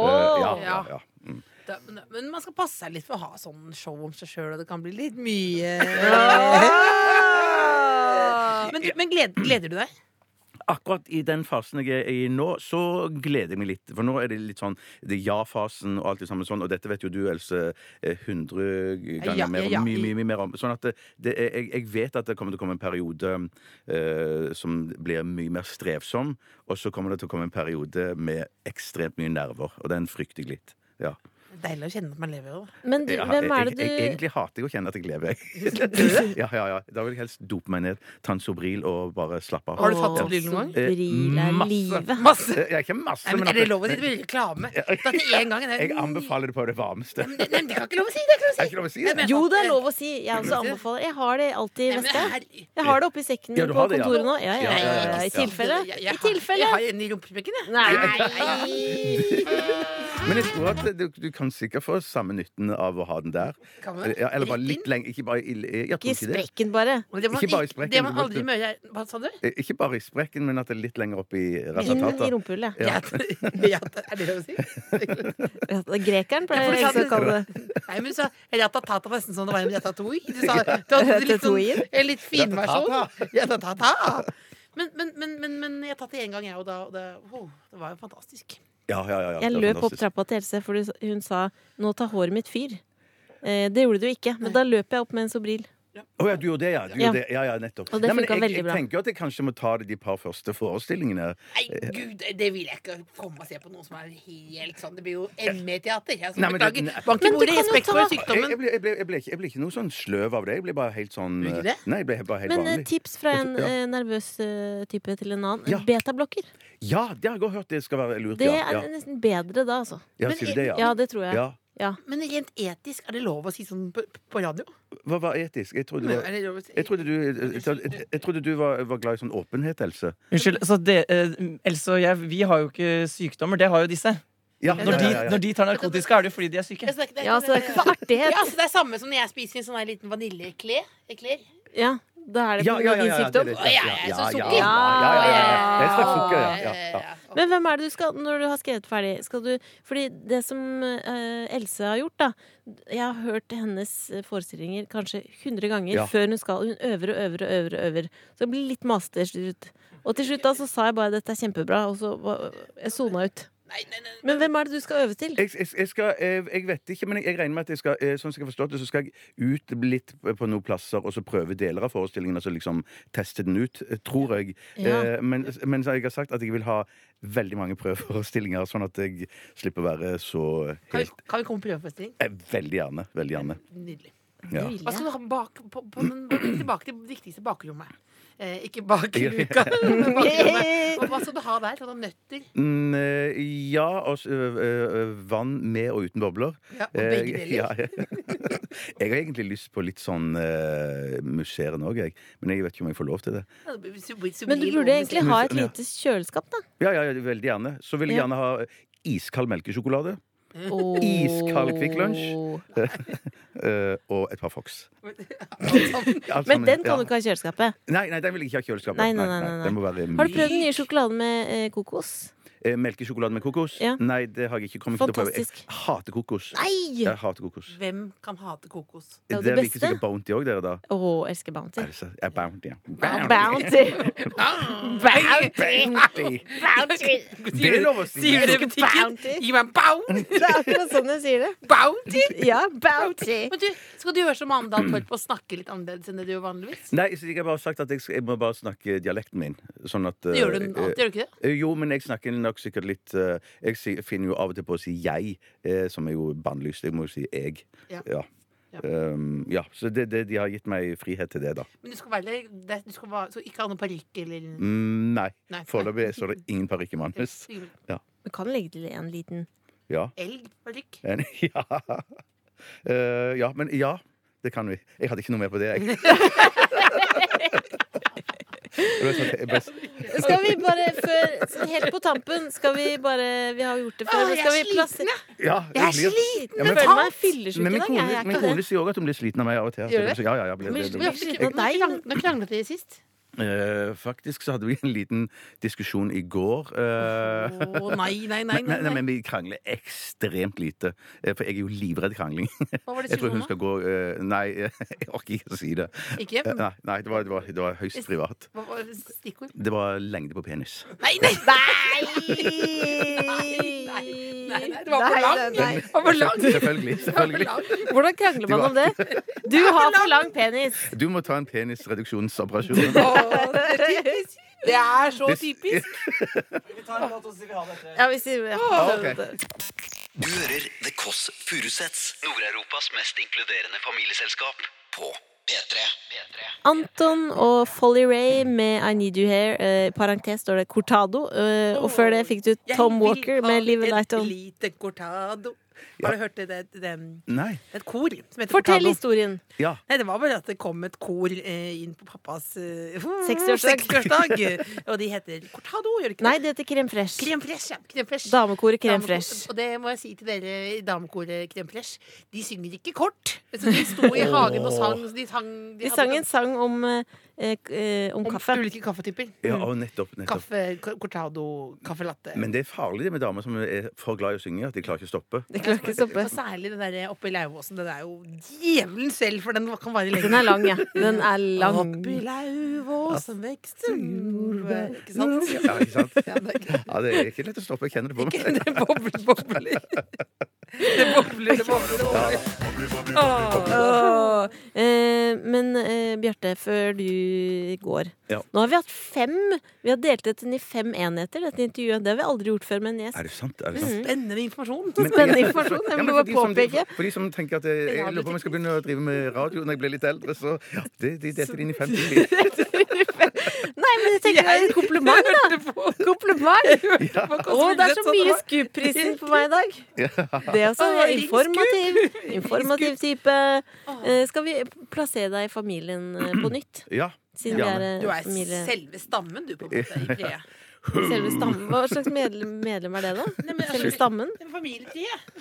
Speaker 6: ja, ja, ja. Mm.
Speaker 4: Da, men, men man skal passe seg litt for å ha sånn show om seg sjøl, og det kan bli litt mye Men, men gled, gleder du deg?
Speaker 6: Akkurat i den fasen jeg er i nå, så gleder jeg meg litt. For nå er det litt sånn det er ja-fasen og alt det samme sånn, og dette vet jo du, Else, eh, 100 ganger
Speaker 4: Ja,
Speaker 6: mer.
Speaker 4: ja, ja.
Speaker 6: Mye, mye, mye mer om. Sånn at det, det, er- jeg, jeg vet at det kommer til å komme en periode eh, som blir mye mer strevsom, og så kommer det til å komme en periode med ekstremt mye nerver, og den frykter jeg litt. Ja.
Speaker 4: Deilig å kjenne at man lever jo. da.
Speaker 3: Men du,
Speaker 6: Jeg-
Speaker 3: hvem er
Speaker 6: jeg, jeg, jeg,
Speaker 3: det du
Speaker 6: egentlig hater jeg å kjenne at jeg lever. jeg. ja, ja, ja. Da vil jeg helst dope meg ned, ta en Sobril og bare slappe av.
Speaker 4: Har du tatt Sobril noen gang?
Speaker 6: Eh,
Speaker 3: Bril er
Speaker 6: masse.
Speaker 3: livet.
Speaker 4: Masse!
Speaker 6: Ja, ikke masse,
Speaker 4: Nei, men
Speaker 6: men
Speaker 4: er det
Speaker 6: at-
Speaker 4: lov å si det blir reklame? Da til én gang. Det
Speaker 6: Jeg
Speaker 4: er
Speaker 6: anbefaler det på det varmeste.
Speaker 4: Nei, men det kan ikke lov å si! Det er ikke lov å si!
Speaker 6: Er ikke lov å si det?
Speaker 4: Jeg mener
Speaker 3: Jo,
Speaker 4: at-
Speaker 3: det er lov å si. Jeg også anbefaler. Jeg har det alltid i
Speaker 4: Nei, men
Speaker 3: veska.
Speaker 4: her-
Speaker 3: Jeg har det oppi sekken min
Speaker 6: Ja, du
Speaker 3: på
Speaker 6: har det, ja.
Speaker 3: kontoret nå. Ja, ja,
Speaker 6: Ja,
Speaker 3: ja,
Speaker 6: ja, ja.
Speaker 3: ja. I tilfelle. I
Speaker 4: Jeg- jeg- jeg har- Jeg
Speaker 3: tilfelle.
Speaker 4: har en i rumpesprekken, jeg.
Speaker 3: Nei.
Speaker 6: Men jeg tror at du, du kan sikkert få samme nytten av å ha den der. Eh,
Speaker 4: Kan man?
Speaker 6: Ja, eller bare
Speaker 4: Rett
Speaker 6: litt
Speaker 4: inn?
Speaker 6: lenger. Ikke bare i eh, jeg tror
Speaker 3: Ikke i
Speaker 6: ikke, det.
Speaker 3: sprekken, bare.
Speaker 4: Men det man
Speaker 6: Ikke bare i
Speaker 4: ikke-
Speaker 6: sprekken,
Speaker 4: Det man
Speaker 6: du
Speaker 4: aldri
Speaker 6: måtte-
Speaker 4: må gjøre Hva sa du?
Speaker 6: Eh, ikke bare i sprekken, men at det er litt lenger opp i
Speaker 3: Inn i
Speaker 6: ratatatet.
Speaker 3: rumpehullet.
Speaker 4: Ja. Ja, er det lov å si?
Speaker 3: Ja, Grekeren
Speaker 4: Ja, for
Speaker 3: pleier
Speaker 4: du
Speaker 3: jeg
Speaker 4: sa
Speaker 3: ikke å kalle det.
Speaker 4: Nei, men du sa ratatata nesten som det var en ratatouille. Du sa du hadde litt sånn, en litt fin versjon. Ratatata. Men, men, men, men, men jeg tatt det én gang, jeg, og da og det, oh, det var jo fantastisk.
Speaker 6: Ja, ja, ja, ja,
Speaker 3: Jeg
Speaker 6: det var
Speaker 3: løp opp
Speaker 6: fantastisk.
Speaker 3: trappa til Else, for du- hun sa 'nå tar håret mitt fyr'. Eh, Det gjorde du ikke, men da løp jeg opp med en Sobril.
Speaker 6: Å ja, du gjorde det, ja. Du
Speaker 3: Ja.
Speaker 6: gjorde det. ja, ja nettopp.
Speaker 3: Og det
Speaker 6: men
Speaker 3: funket
Speaker 6: jeg,
Speaker 3: veldig bra.
Speaker 6: Jeg tenker jo at jeg kanskje må ta det de par første forestillingene.
Speaker 4: Nei,
Speaker 6: Eh.
Speaker 4: gud, det vil jeg ikke komme og se på noe som er helt sånn. Det blir jo ME-teater. Jeg
Speaker 6: Nei, men det-
Speaker 4: beklager. Bank i
Speaker 3: Men du
Speaker 4: bordet.
Speaker 3: kan jo
Speaker 4: Respekt
Speaker 3: ta-
Speaker 4: for
Speaker 6: Jeg, jeg,
Speaker 4: sykdommen.
Speaker 6: ble, jeg, ble, jeg, ble ikke, jeg ble ikke noe sånn sløv av det. Jeg ble bare helt sånn
Speaker 4: Ble du ikke det?
Speaker 6: Nei, jeg ble bare helt
Speaker 3: Men eh,
Speaker 6: vanlig.
Speaker 3: tips fra en
Speaker 6: Ja.
Speaker 3: eh, nervøs eh, type til en annen.
Speaker 6: Ja.
Speaker 3: Betablokker.
Speaker 6: Ja, det har jeg også hørt. Det skal være lurt.
Speaker 3: Det
Speaker 6: Ja, ja.
Speaker 3: er nesten bedre da, altså.
Speaker 6: ja
Speaker 4: Men
Speaker 6: sier du det, ja?
Speaker 3: Ja, det tror jeg.
Speaker 6: ja.
Speaker 3: Ja.
Speaker 4: Men rent etisk, er det lov å si sånn på, på radio?
Speaker 6: Hva var etisk? Jeg trodde det var
Speaker 4: Er det lov å si?
Speaker 6: Jeg trodde du, jeg, jeg, jeg trodde du var, var glad i sånn åpenhet, Else.
Speaker 7: Unnskyld, så det, eh, Else og jeg, vi har jo ikke sykdommer. Det har jo disse.
Speaker 6: Ja,
Speaker 7: Når de, når de tar narkotiske, er det jo fordi de er syke.
Speaker 4: Ja, så det er ikke-
Speaker 3: ja, så det er ikke for
Speaker 4: Ja,
Speaker 3: artighet.
Speaker 4: så det er samme som når jeg spiser en sånn her liten vaniljeklær. Eklær.
Speaker 3: Ja, da er det
Speaker 6: Ja,
Speaker 3: på grunn
Speaker 6: ja,
Speaker 3: av
Speaker 6: ja,
Speaker 3: din
Speaker 6: ja,
Speaker 3: sykdom.
Speaker 6: det er
Speaker 4: Å, jeg er så sånn sukker.
Speaker 6: Ja, ja, ja, ja, ja. Det er et slags sukker, ja. ja, ja.
Speaker 3: Men hvem er det du skal, når du har skrevet ferdig skal du, Fordi det som eh, Else har gjort da Jeg har hørt hennes forestillinger kanskje 100 ganger
Speaker 6: Ja.
Speaker 3: før hun skal. og Hun øver og øver og øver. og øver Så det blir litt masete til slutt. Og til slutt da så sa jeg bare dette er kjempebra, og så var- jeg sona ut.
Speaker 4: Nei, nei, nei.
Speaker 3: Men hvem er det du skal øve til?
Speaker 6: Jeg, jeg, jeg, skal, jeg, jeg vet ikke, men jeg, jeg regner med at jeg skal eh, Sånn som jeg har forstått det, så skal jeg ut litt på noen plasser og så prøve deler av forestillingen. Altså liksom teste den ut, eh, tror jeg.
Speaker 3: Ja.
Speaker 6: Eh, Men, men så har jeg har sagt at jeg vil ha veldig mange prøveforestillinger, sånn at jeg slipper å være så
Speaker 4: Kan, vi,
Speaker 6: helt
Speaker 4: kan vi komme på prøveforestilling?
Speaker 6: eh, Veldig gjerne. Veldig gjerne.
Speaker 4: Nydelig.
Speaker 6: Ja.
Speaker 3: Nydelig.
Speaker 4: Hva skal du ha bak, på, på den, tilbake til det viktigste bakrommet? Eh, ikke bak luka, men bak hjørnet. Og Hva skal du ha der? Sånn nøtter?
Speaker 6: Mm, eh, ja, og s- ø, ø, ø, vann med og uten bobler.
Speaker 4: Ja, og
Speaker 6: Eh,
Speaker 4: begge deler.
Speaker 6: ja, ja. jeg har egentlig lyst på litt sånn uh, musserende òg, jeg. Men jeg vet ikke om jeg får lov til det.
Speaker 3: Men du burde egentlig ha et lite kjøleskap, da.
Speaker 6: Ja, ja, veldig gjerne. Så vil jeg
Speaker 3: Ja.
Speaker 6: gjerne ha iskald melkesjokolade
Speaker 4: Mm.
Speaker 3: Oh.
Speaker 6: Iskald Kvikk Lunsj. eh, og et par Fox. Alt
Speaker 3: Men
Speaker 6: sammen,
Speaker 3: den
Speaker 6: ja.
Speaker 3: kan du ikke ha i kjøleskapet.
Speaker 6: Nei, nei, den vil jeg ikke ha i kjøleskapet.
Speaker 3: Nei, nei, nei, nei,
Speaker 6: Den må være
Speaker 3: Har du prøvd den nye sjokoladen med eh, kokos?
Speaker 6: Eh, Melkesjokolade med kokos?
Speaker 3: Ja.
Speaker 6: Nei, det har jeg ikke kommet til å prøve. Jeg
Speaker 3: Fantastisk.
Speaker 6: hater kokos.
Speaker 3: Nei!
Speaker 6: Jeg hater kokos.
Speaker 4: Hvem kan hate kokos?
Speaker 3: Det er jo det
Speaker 6: Dere liker
Speaker 3: beste.
Speaker 6: sikkert Bounty òg, dere da.
Speaker 3: Å, elsker Bounty.
Speaker 6: Er det så? Ja, Bounty, ja.
Speaker 3: Bounty! Bounty!
Speaker 6: Bounty.
Speaker 3: Bounty!
Speaker 6: Det er lov å si.
Speaker 4: Sier du det i butikken?
Speaker 3: Bounty.
Speaker 4: Gi meg en bounty!
Speaker 3: Det er akkurat sånn jeg sier det.
Speaker 4: Bounty!
Speaker 3: Ja, Bounty!
Speaker 4: Men du, skal du gjøre som Mandal Torp og snakke litt annerledes enn det du gjør vanligvis?
Speaker 6: Nei, så jeg har bare sagt at jeg, skal, jeg må bare snakke dialekten min. Sånn at
Speaker 4: Det gjør du alltid, gjør du ikke det?
Speaker 6: Eh, Jo, men jeg snakker nok sikkert litt eh, Jeg si- finner jo av og til på å si 'jeg', eh, som er jo bannlyst. Jeg må jo si 'jeg'.
Speaker 4: Ja.
Speaker 6: Ja.
Speaker 4: Ja.
Speaker 6: Um, ja. Så det, det, de har gitt meg frihet til det, da.
Speaker 4: Men du skal være det, du skal være, så ikke ha noen parykk eller
Speaker 6: Mm, nei.
Speaker 4: Nei.
Speaker 6: Foreløpig står det ingen parykk i manus.
Speaker 3: Du kan legge til en liten
Speaker 6: Ja.
Speaker 4: elgparykk.
Speaker 6: En, ja. Eh, ja, men ja. Det kan vi. Jeg hadde ikke noe mer på det, jeg. Jeg ble sånn- jeg ble sånn-
Speaker 3: Skal vi bare før sånn Helt på tampen skal vi bare Vi har gjort det før.
Speaker 4: Å,
Speaker 3: men
Speaker 4: jeg
Speaker 3: skal
Speaker 4: er
Speaker 3: vi plass-
Speaker 4: sliten,
Speaker 6: Ja,
Speaker 4: Jeg er
Speaker 6: blir-
Speaker 4: sliten!
Speaker 6: Ja,
Speaker 3: Jeg
Speaker 6: men-
Speaker 3: føler meg
Speaker 6: Men
Speaker 3: fyllesyk i
Speaker 6: min
Speaker 3: dag. Jeg
Speaker 6: kone,
Speaker 3: er
Speaker 6: min
Speaker 3: ikke det.
Speaker 6: kone sier òg at hun blir sliten av meg av og til.
Speaker 4: Gjør du det?
Speaker 6: Så- Ja, ja, jeg blir,
Speaker 3: Men
Speaker 6: det,
Speaker 3: blir
Speaker 6: det.
Speaker 3: du sliten av
Speaker 4: Nå
Speaker 3: deg?
Speaker 4: krang- Nå kranglet dere sist.
Speaker 6: Eh, faktisk så hadde vi en liten diskusjon i går. eh,
Speaker 4: Å nei, nei, nei.
Speaker 6: men,
Speaker 4: nei,
Speaker 6: nei,
Speaker 4: nei.
Speaker 6: men vi krangler ekstremt lite. eh, For jeg er jo livredd krangling.
Speaker 4: Hva var det
Speaker 6: Jeg tror hun
Speaker 4: diskusjonen
Speaker 6: skal gå eh, Nei, jeg orker ikke å si det.
Speaker 4: om? Ikke?
Speaker 6: Eh, Nei, nei det, var, det, var, det var høyst privat.
Speaker 4: Hva var stikkord?
Speaker 6: Det var lengde på penis.
Speaker 4: Nei, nei!
Speaker 3: Nei!
Speaker 4: Nei, det var for
Speaker 3: nei,
Speaker 4: langt!
Speaker 3: nei.
Speaker 4: Det var for langt!
Speaker 6: Selvfølgelig.
Speaker 4: Det var for
Speaker 6: selvfølgelig.
Speaker 4: langt.
Speaker 3: Hvordan krangler man om det? Du har for lang penis.
Speaker 6: Du må ta en penisreduksjonsoperasjon.
Speaker 4: Det er så typisk.
Speaker 3: Ja, hvis vi
Speaker 6: Ah, ok.
Speaker 2: Du hører The Koss Furusets. Nord-Europas mest inkluderende familieselskap. På P3. P3.
Speaker 3: Anton og Folly Ray med I Need You Here. Eh, parentes står det Cortado. Eh, og før det fikk du Tom Walker med Live and Light On.
Speaker 4: Lite cortado. Har du hørt det? Det, det, det
Speaker 6: Nei.
Speaker 4: er et kor som heter
Speaker 3: Fortell
Speaker 4: cortado.
Speaker 3: historien.
Speaker 6: Ja.
Speaker 4: Nei, det var bare at det kom et kor eh, inn på pappas eh,
Speaker 3: 60-årsdag.
Speaker 4: 60-årsdag. og de heter cortado, gjør de ikke
Speaker 3: Nei,
Speaker 4: det?
Speaker 3: det heter Krem Fresh.
Speaker 4: Crème fraîche, ja. Crème fraîche.
Speaker 3: Damekoret Krem
Speaker 4: Damekor-
Speaker 3: Fresh.
Speaker 4: Og det må jeg si til dere i damekoret Crème Fresh. De synger ikke kort. Så de sto i hagen og sang. så De, sang,
Speaker 3: Vi
Speaker 4: hadde
Speaker 3: sang en sang om, eh, eh, om
Speaker 4: om
Speaker 3: kaffe.
Speaker 4: ulike kaffetyper.
Speaker 6: ja og nettopp. nettopp.
Speaker 4: Mm. Kaffe, cortado, kaffe latte.
Speaker 6: Men det er farlig det med damer som er for glad i å synge at de klarer ikke å stoppe.
Speaker 3: Det klarer ikke å stoppe.
Speaker 4: Og særlig den der eh, oppe i Lauvåsen. Den er jo djevelen selv, for den kan vare lenge.
Speaker 3: Den er lang, ja. Den er lang.
Speaker 4: Oppi Lauvåsen vokste jordbær Ikke sant?
Speaker 6: Ja, ikke sant?
Speaker 4: Ja, det er ikke-
Speaker 6: Ja, det er ikke lett å stoppe. Jeg kjenner det på meg.
Speaker 4: det bobler, bobler. Det bobler, det bobler. det bobler.
Speaker 3: Åh. Eh, men eh, Bjarte, før du går
Speaker 6: Ja.
Speaker 3: Nå har vi hatt fem Vi har delt dette inn i fem enheter, dette intervjuet. Det har vi aldri gjort før med en gjest.
Speaker 6: Er det sant? Er det sant?
Speaker 4: Spennende informasjon.
Speaker 6: Men-
Speaker 3: Spennende informasjon. Jeg
Speaker 6: Ja,
Speaker 3: vil
Speaker 6: men
Speaker 3: bare
Speaker 6: for de som-
Speaker 3: påpeke.
Speaker 6: For de som tenker at eh, jeg, jeg lurer på om jeg skal begynne å drive med radio når jeg blir litt eldre, så ja, det, de detter inn i 50
Speaker 3: Nei, men jeg tenker det er et kompliment, da! Kompliment! Å, det er så mye Scoop-prisen for meg i dag. Det er også
Speaker 4: Åh, ring
Speaker 3: informativ. Informativ type. Eh, skal vi plassere deg i familien eh, på nytt?
Speaker 6: Ja.
Speaker 3: Siden
Speaker 6: Ja,
Speaker 3: vi er
Speaker 6: men-
Speaker 3: eh,
Speaker 4: Du er
Speaker 3: familie...
Speaker 4: selve stammen, du, på en måte, i treet.
Speaker 3: Selve stammen. Hva slags medlem, medlem er det, da?
Speaker 4: men- altså,
Speaker 3: Selve stammen?
Speaker 4: Familietreet.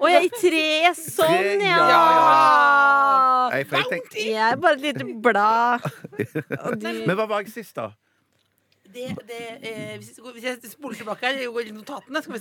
Speaker 3: Å, jeg er i treet!
Speaker 6: Tre,
Speaker 3: Sånn,
Speaker 6: ja,
Speaker 3: ja!
Speaker 6: Nei, for jeg tenk,
Speaker 3: Jeg er bare et lite blad. Og du
Speaker 6: men hva var jeg sist, da?
Speaker 4: Det, det, eh, hvis jeg- hvis jeg spoler tilbake her, jeg går i notatene, skal vi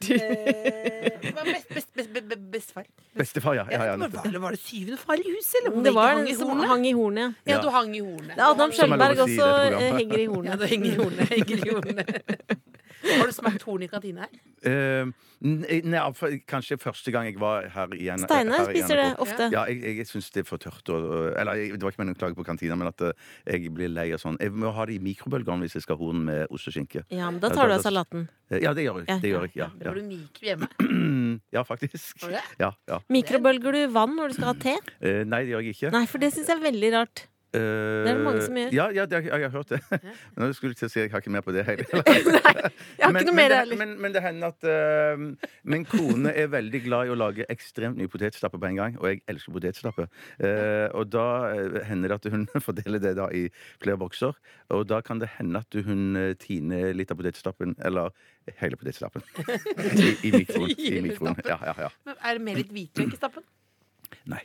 Speaker 4: se. Eh, det var best, best, best, best, best, bestefar.
Speaker 6: Bestefar, ja.
Speaker 4: Jeg
Speaker 6: ja, ja
Speaker 4: vet ikke,
Speaker 6: nettopp.
Speaker 4: var, det, var det syvende far i huset, eller?
Speaker 3: Det var
Speaker 4: hang i
Speaker 3: den som
Speaker 4: hornet?
Speaker 3: hang i hornet.
Speaker 4: Ja,
Speaker 6: Ja.
Speaker 4: du hang i hornet.
Speaker 3: ja. Adam
Speaker 6: Som er lov å
Speaker 3: Skjølberg
Speaker 6: si i
Speaker 3: også
Speaker 6: dette
Speaker 3: eh,
Speaker 6: programmet.
Speaker 3: henger i
Speaker 4: Ja,
Speaker 3: hornet.
Speaker 4: du henger i hornet. Henger i hornet. Har du smakt horn i kantina her?
Speaker 6: Eh, nei, nei, for- kanskje første gang jeg var her igjen.
Speaker 3: Steinar spiser det ofte.
Speaker 6: Ja, jeg, jeg syns det er for tørt. Og, og- eller jeg, det var ikke meningen å klage på kantina, men at eh, jeg blir lei av sånn. Jeg må ha det i mikrobølgeovn hvis jeg skal ha horn med ost og skinke.
Speaker 3: Ja, men da tar du av salaten.
Speaker 6: Eh, Ja, det gjør jeg. Det gjør jeg ja,
Speaker 4: Det var du mikro hjemme.
Speaker 6: ja. ja, faktisk.
Speaker 4: Var det?
Speaker 6: Ja, ja.
Speaker 3: Mikrobølger du vann når du skal ha te?
Speaker 6: Eh, Nei, det gjør jeg ikke.
Speaker 3: Nei, for det syns jeg er veldig rart.
Speaker 6: det
Speaker 3: er det mange som gjør.
Speaker 6: Eh, Ja, ja, det, jeg, jeg har hørt det. Men jeg skulle til å si jeg har ikke mer på det heller.
Speaker 3: Jeg har
Speaker 6: men,
Speaker 3: ikke noe
Speaker 6: men,
Speaker 3: mer
Speaker 6: det,
Speaker 3: heller.
Speaker 6: men, men det hender at eh, min kone er veldig glad i å lage ekstremt mye potetstappe på en gang, og jeg elsker potetstappe. Eh, og da eh, hender det at hun fordeler det da i flere bokser, og da kan det hende at hun eh, tiner litt av potetstappen, eller hele potetstappen, i, i mikroen. I
Speaker 4: Hele
Speaker 6: mikroen. Ja, ja, ja.
Speaker 4: Men er det mer litt hvitløk i stappen?
Speaker 6: Nei.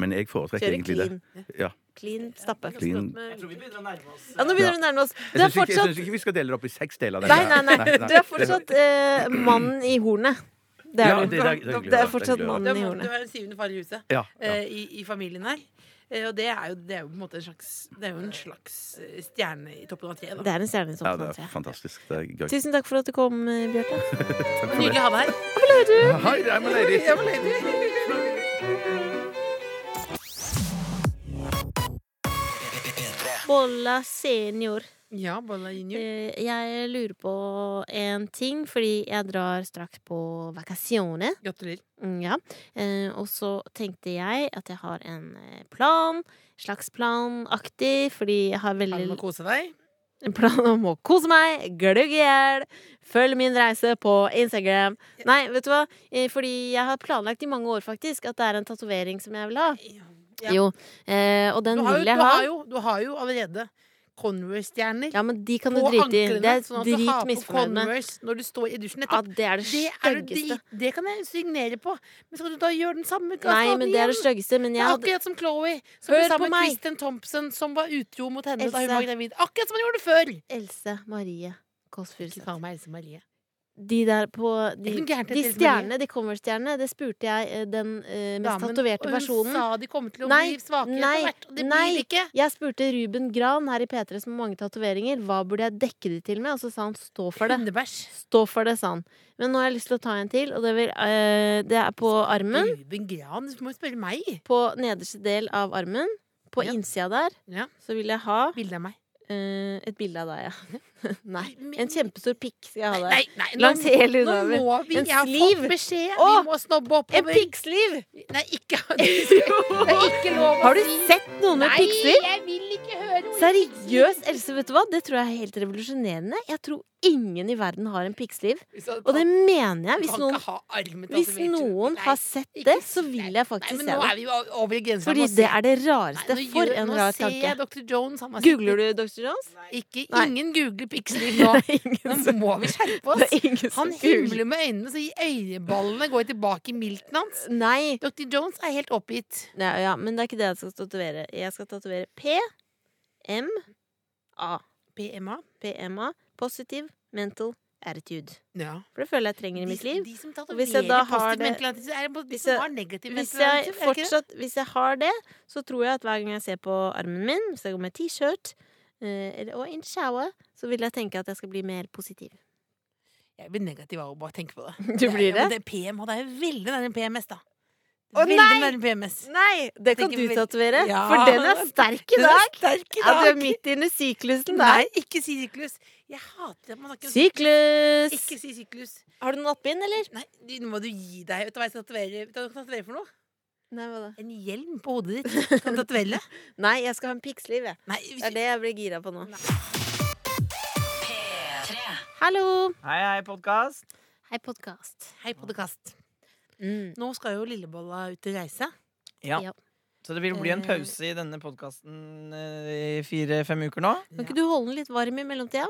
Speaker 6: Men jeg foretrekker
Speaker 3: Kjører
Speaker 6: egentlig det.
Speaker 3: clean.
Speaker 6: Ja.
Speaker 3: Clean stappe.
Speaker 6: Clean.
Speaker 3: Ja,
Speaker 7: tror vi begynner å nærme oss.
Speaker 3: nå begynner vi å nærme oss. Du er
Speaker 6: Jeg syns ikke, jeg
Speaker 3: fortsatt
Speaker 6: synes ikke vi skal dele det opp i seks deler.
Speaker 3: Nei, nei, nei. Du er fortsatt eh, mannen i hornet. Det
Speaker 6: Ja,
Speaker 3: er du.
Speaker 6: det, det, det,
Speaker 3: Det er fortsatt
Speaker 4: Du
Speaker 3: mannen
Speaker 4: er,
Speaker 3: i
Speaker 4: mann- du
Speaker 3: hornet.
Speaker 4: er den syvende far i huset
Speaker 6: Ja, ja.
Speaker 4: eh, i, i familien her. Eh, Og det er, jo, det er jo på en måte en slags Det er jo en slags eh, stjerne i toppen av treet.
Speaker 3: Det er en stjerne i
Speaker 6: ja,
Speaker 3: toppen
Speaker 6: det
Speaker 3: av
Speaker 6: er
Speaker 3: treet.
Speaker 6: fantastisk. Det er gøy.
Speaker 3: Tusen takk for at du kom, eh, Bjarte.
Speaker 4: da. Nydelig å ha deg her.
Speaker 6: Hei, I'm a lady.
Speaker 3: Bolla senior.
Speaker 4: Ja, Bolla Junior.
Speaker 3: Eh, Jeg lurer på en ting, fordi jeg drar straks på vakasjone.
Speaker 4: Gratulerer.
Speaker 3: Mm, Ja. Eh, og så tenkte jeg at jeg har en eh, plan, slags planaktig, fordi jeg har
Speaker 4: Har du
Speaker 3: veldig
Speaker 4: med å kose deg?
Speaker 3: en plan om å kose meg, glugge i hjel, følg min reise på Instagram. Nei, vet du hva? Eh, fordi jeg har planlagt i mange år faktisk at det er en tatovering som jeg vil ha.
Speaker 4: Ja.
Speaker 3: Jo, eh, og den
Speaker 4: Du har jo,
Speaker 3: vil jeg
Speaker 4: du
Speaker 3: ha.
Speaker 4: har jo, du har jo allerede Converse-stjerner
Speaker 3: Ja, men de kan du
Speaker 4: på
Speaker 3: drite i. Det
Speaker 4: anklene.
Speaker 3: er
Speaker 4: Sånn at du har
Speaker 3: drit
Speaker 4: på
Speaker 3: misfornøyd med.
Speaker 4: Converse når du står i dusjen.
Speaker 3: Ja,
Speaker 4: Nettopp.
Speaker 3: det er det
Speaker 4: Det, er jo
Speaker 3: styggeste.
Speaker 4: drit, det kan jeg signere på. Men skal du da gjøre den samme
Speaker 3: Nei,
Speaker 4: kaskaden
Speaker 3: men det er det
Speaker 4: igjen?
Speaker 3: styggeste. Men
Speaker 4: Det
Speaker 3: jeg
Speaker 4: er
Speaker 3: hadde
Speaker 4: akkurat som Chloé, som
Speaker 3: Hør
Speaker 4: ble sammen
Speaker 3: på
Speaker 4: med
Speaker 3: meg.
Speaker 4: Kristin Thompson, som var utro mot henne da hun
Speaker 3: Else.
Speaker 4: var gravid. Akkurat som hun gjorde før!
Speaker 3: Else Marie Kåss
Speaker 4: Ikke
Speaker 3: Furuseth.
Speaker 4: faen meg Else Marie.
Speaker 3: De der på De,
Speaker 4: ikke noe gærent
Speaker 3: de
Speaker 4: etter Else
Speaker 3: stjernene, de Converse-stjernene, det spurte jeg eh, den eh, mest
Speaker 4: Damen.
Speaker 3: tatoverte
Speaker 4: Og
Speaker 3: personen.
Speaker 4: Hun sa de kommer til å
Speaker 3: Nei,
Speaker 4: bli svakere
Speaker 3: nei,
Speaker 4: etter hvert, og det
Speaker 3: nei.
Speaker 4: blir de ikke.
Speaker 3: Jeg spurte Ruben Gran her i P3 som har mange tatoveringer, hva burde jeg dekke de til med? Og så sa han stå for det.
Speaker 4: Hundebæsj.
Speaker 3: Stå for det, sa han. Men nå har jeg lyst til å ta en til, og det, vil, eh, det er på armen.
Speaker 4: Ruben Gran, du må jo spørre meg.
Speaker 3: På nederste del av armen. På
Speaker 4: Mm. Ja.
Speaker 3: innsida der
Speaker 4: Ja.
Speaker 3: så vil jeg ha
Speaker 4: Bilde av meg.
Speaker 3: eh, et bilde av deg, ja. Nei.
Speaker 4: Men-
Speaker 3: En kjempestor pikk skal jeg ha
Speaker 4: Nei,
Speaker 3: der.
Speaker 4: nei, nå,
Speaker 3: Langs hele
Speaker 4: nå
Speaker 3: underarmen.
Speaker 4: må vi
Speaker 3: En
Speaker 4: Jeg har
Speaker 3: sliv.
Speaker 4: fått beskjed.
Speaker 3: Å,
Speaker 4: vi må snobbe
Speaker 3: En
Speaker 4: oppover.
Speaker 3: pikksliv!
Speaker 4: Nei, ikke Det er ikke lov å
Speaker 3: Har du
Speaker 4: si.
Speaker 3: sett noen med pikksliv?
Speaker 4: Nei, jeg vil ikke høre ordet
Speaker 3: Seriøst, Else, vet du hva? Det tror jeg er helt revolusjonerende. Jeg tror ingen i verden har en pikksliv.
Speaker 4: pikksliv.
Speaker 3: Og det mener jeg. Hvis
Speaker 4: Kan
Speaker 3: noen,
Speaker 4: ikke ha armen
Speaker 3: hvis
Speaker 4: tatovert.
Speaker 3: noen
Speaker 4: Nei,
Speaker 3: har sett
Speaker 4: ikke-
Speaker 3: det, så vil
Speaker 4: nei,
Speaker 3: jeg faktisk
Speaker 4: nei,
Speaker 3: se
Speaker 4: men Nå
Speaker 3: det.
Speaker 4: er sånn vi jo over grensa.
Speaker 3: Fordi det er det rareste. For en rar
Speaker 4: Nå ser jeg
Speaker 3: tanke.
Speaker 4: Dr. Jones. Han har
Speaker 3: Googler du Dr. Jones?
Speaker 4: sett- Ikke,
Speaker 3: Nei.
Speaker 4: ingen googler pikksliv
Speaker 3: Det
Speaker 4: nå.
Speaker 3: er ingen
Speaker 4: Nå
Speaker 3: som,
Speaker 4: må vi skjerpe
Speaker 3: det
Speaker 4: oss.
Speaker 3: er ingen som
Speaker 4: Han
Speaker 3: googler.
Speaker 4: himler med øynene, så øyeballene går tilbake i milten hans.
Speaker 3: Nei.
Speaker 4: Dr. Jones er helt oppgitt.
Speaker 3: Ja, ja, men det er ikke det jeg skal tatovere. Jeg skal tatovere P, M, A.
Speaker 4: PMA.
Speaker 3: PMA. Positive mental attitude.
Speaker 4: Ja.
Speaker 3: For det føler jeg trenger i mitt
Speaker 4: De,
Speaker 3: liv.
Speaker 4: de som
Speaker 3: Og hvis jeg da
Speaker 4: tatoverer
Speaker 3: har
Speaker 4: positiv
Speaker 3: det-
Speaker 4: mentalitet, så er det både de
Speaker 3: hvis
Speaker 4: som
Speaker 3: jeg-
Speaker 4: har negativ
Speaker 3: Hvis jeg,
Speaker 4: mentalitet. er det ikke det?
Speaker 3: fortsatt, hvis jeg har det, så tror jeg at hver gang jeg ser på armen min, hvis jeg går med T-shirt eh, eller- og en shower, så vil jeg tenke at jeg skal bli mer positiv.
Speaker 4: Jeg blir negativ av å bare tenke på det.
Speaker 3: Du
Speaker 4: er-
Speaker 3: blir
Speaker 4: ja, men
Speaker 3: det?
Speaker 4: det er PMA, det er jo veldig nærme PMS, da.
Speaker 3: Å,
Speaker 4: veldig
Speaker 3: nei!
Speaker 4: nærme PMS.
Speaker 3: Nei! Det kan
Speaker 4: Tenker
Speaker 3: du
Speaker 4: vel-
Speaker 3: tatovere,
Speaker 4: Ja.
Speaker 3: for den er sterk i
Speaker 4: Den er
Speaker 3: dag!
Speaker 4: sterk i
Speaker 3: Ja, du er
Speaker 4: dag.
Speaker 3: midt inne i syklusen
Speaker 4: Nei,
Speaker 3: der.
Speaker 4: ikke si syklus. Jeg hater at man snakker om syklus.
Speaker 3: Syklus!
Speaker 4: Ikke si syklus.
Speaker 3: Har du noe nattbind, eller?
Speaker 4: Nei, du- nå må du gi deg. Vet du hva jeg skal tatovere Vet du hva jeg skal tatovere for noe?
Speaker 3: Nei, hva da?
Speaker 4: En hjelm på hodet ditt. Kan du tatovere?
Speaker 3: Nei, jeg skal ha en pikksliv, jeg.
Speaker 4: Nei,
Speaker 3: Det er
Speaker 4: hvis-
Speaker 3: det jeg blir gira på nå. Hallo!
Speaker 7: Hei, hei, podkast.
Speaker 3: Hei, podkast.
Speaker 4: Hei, podkast.
Speaker 3: Mm.
Speaker 4: Nå skal jo Lillebolla ut og reise.
Speaker 7: Ja.
Speaker 3: Ja.
Speaker 7: Så det vil bli en
Speaker 4: Eh.
Speaker 7: pause i denne podkasten i fire-fem uker nå?
Speaker 3: Kan ikke du holde den litt varm i mellomtida?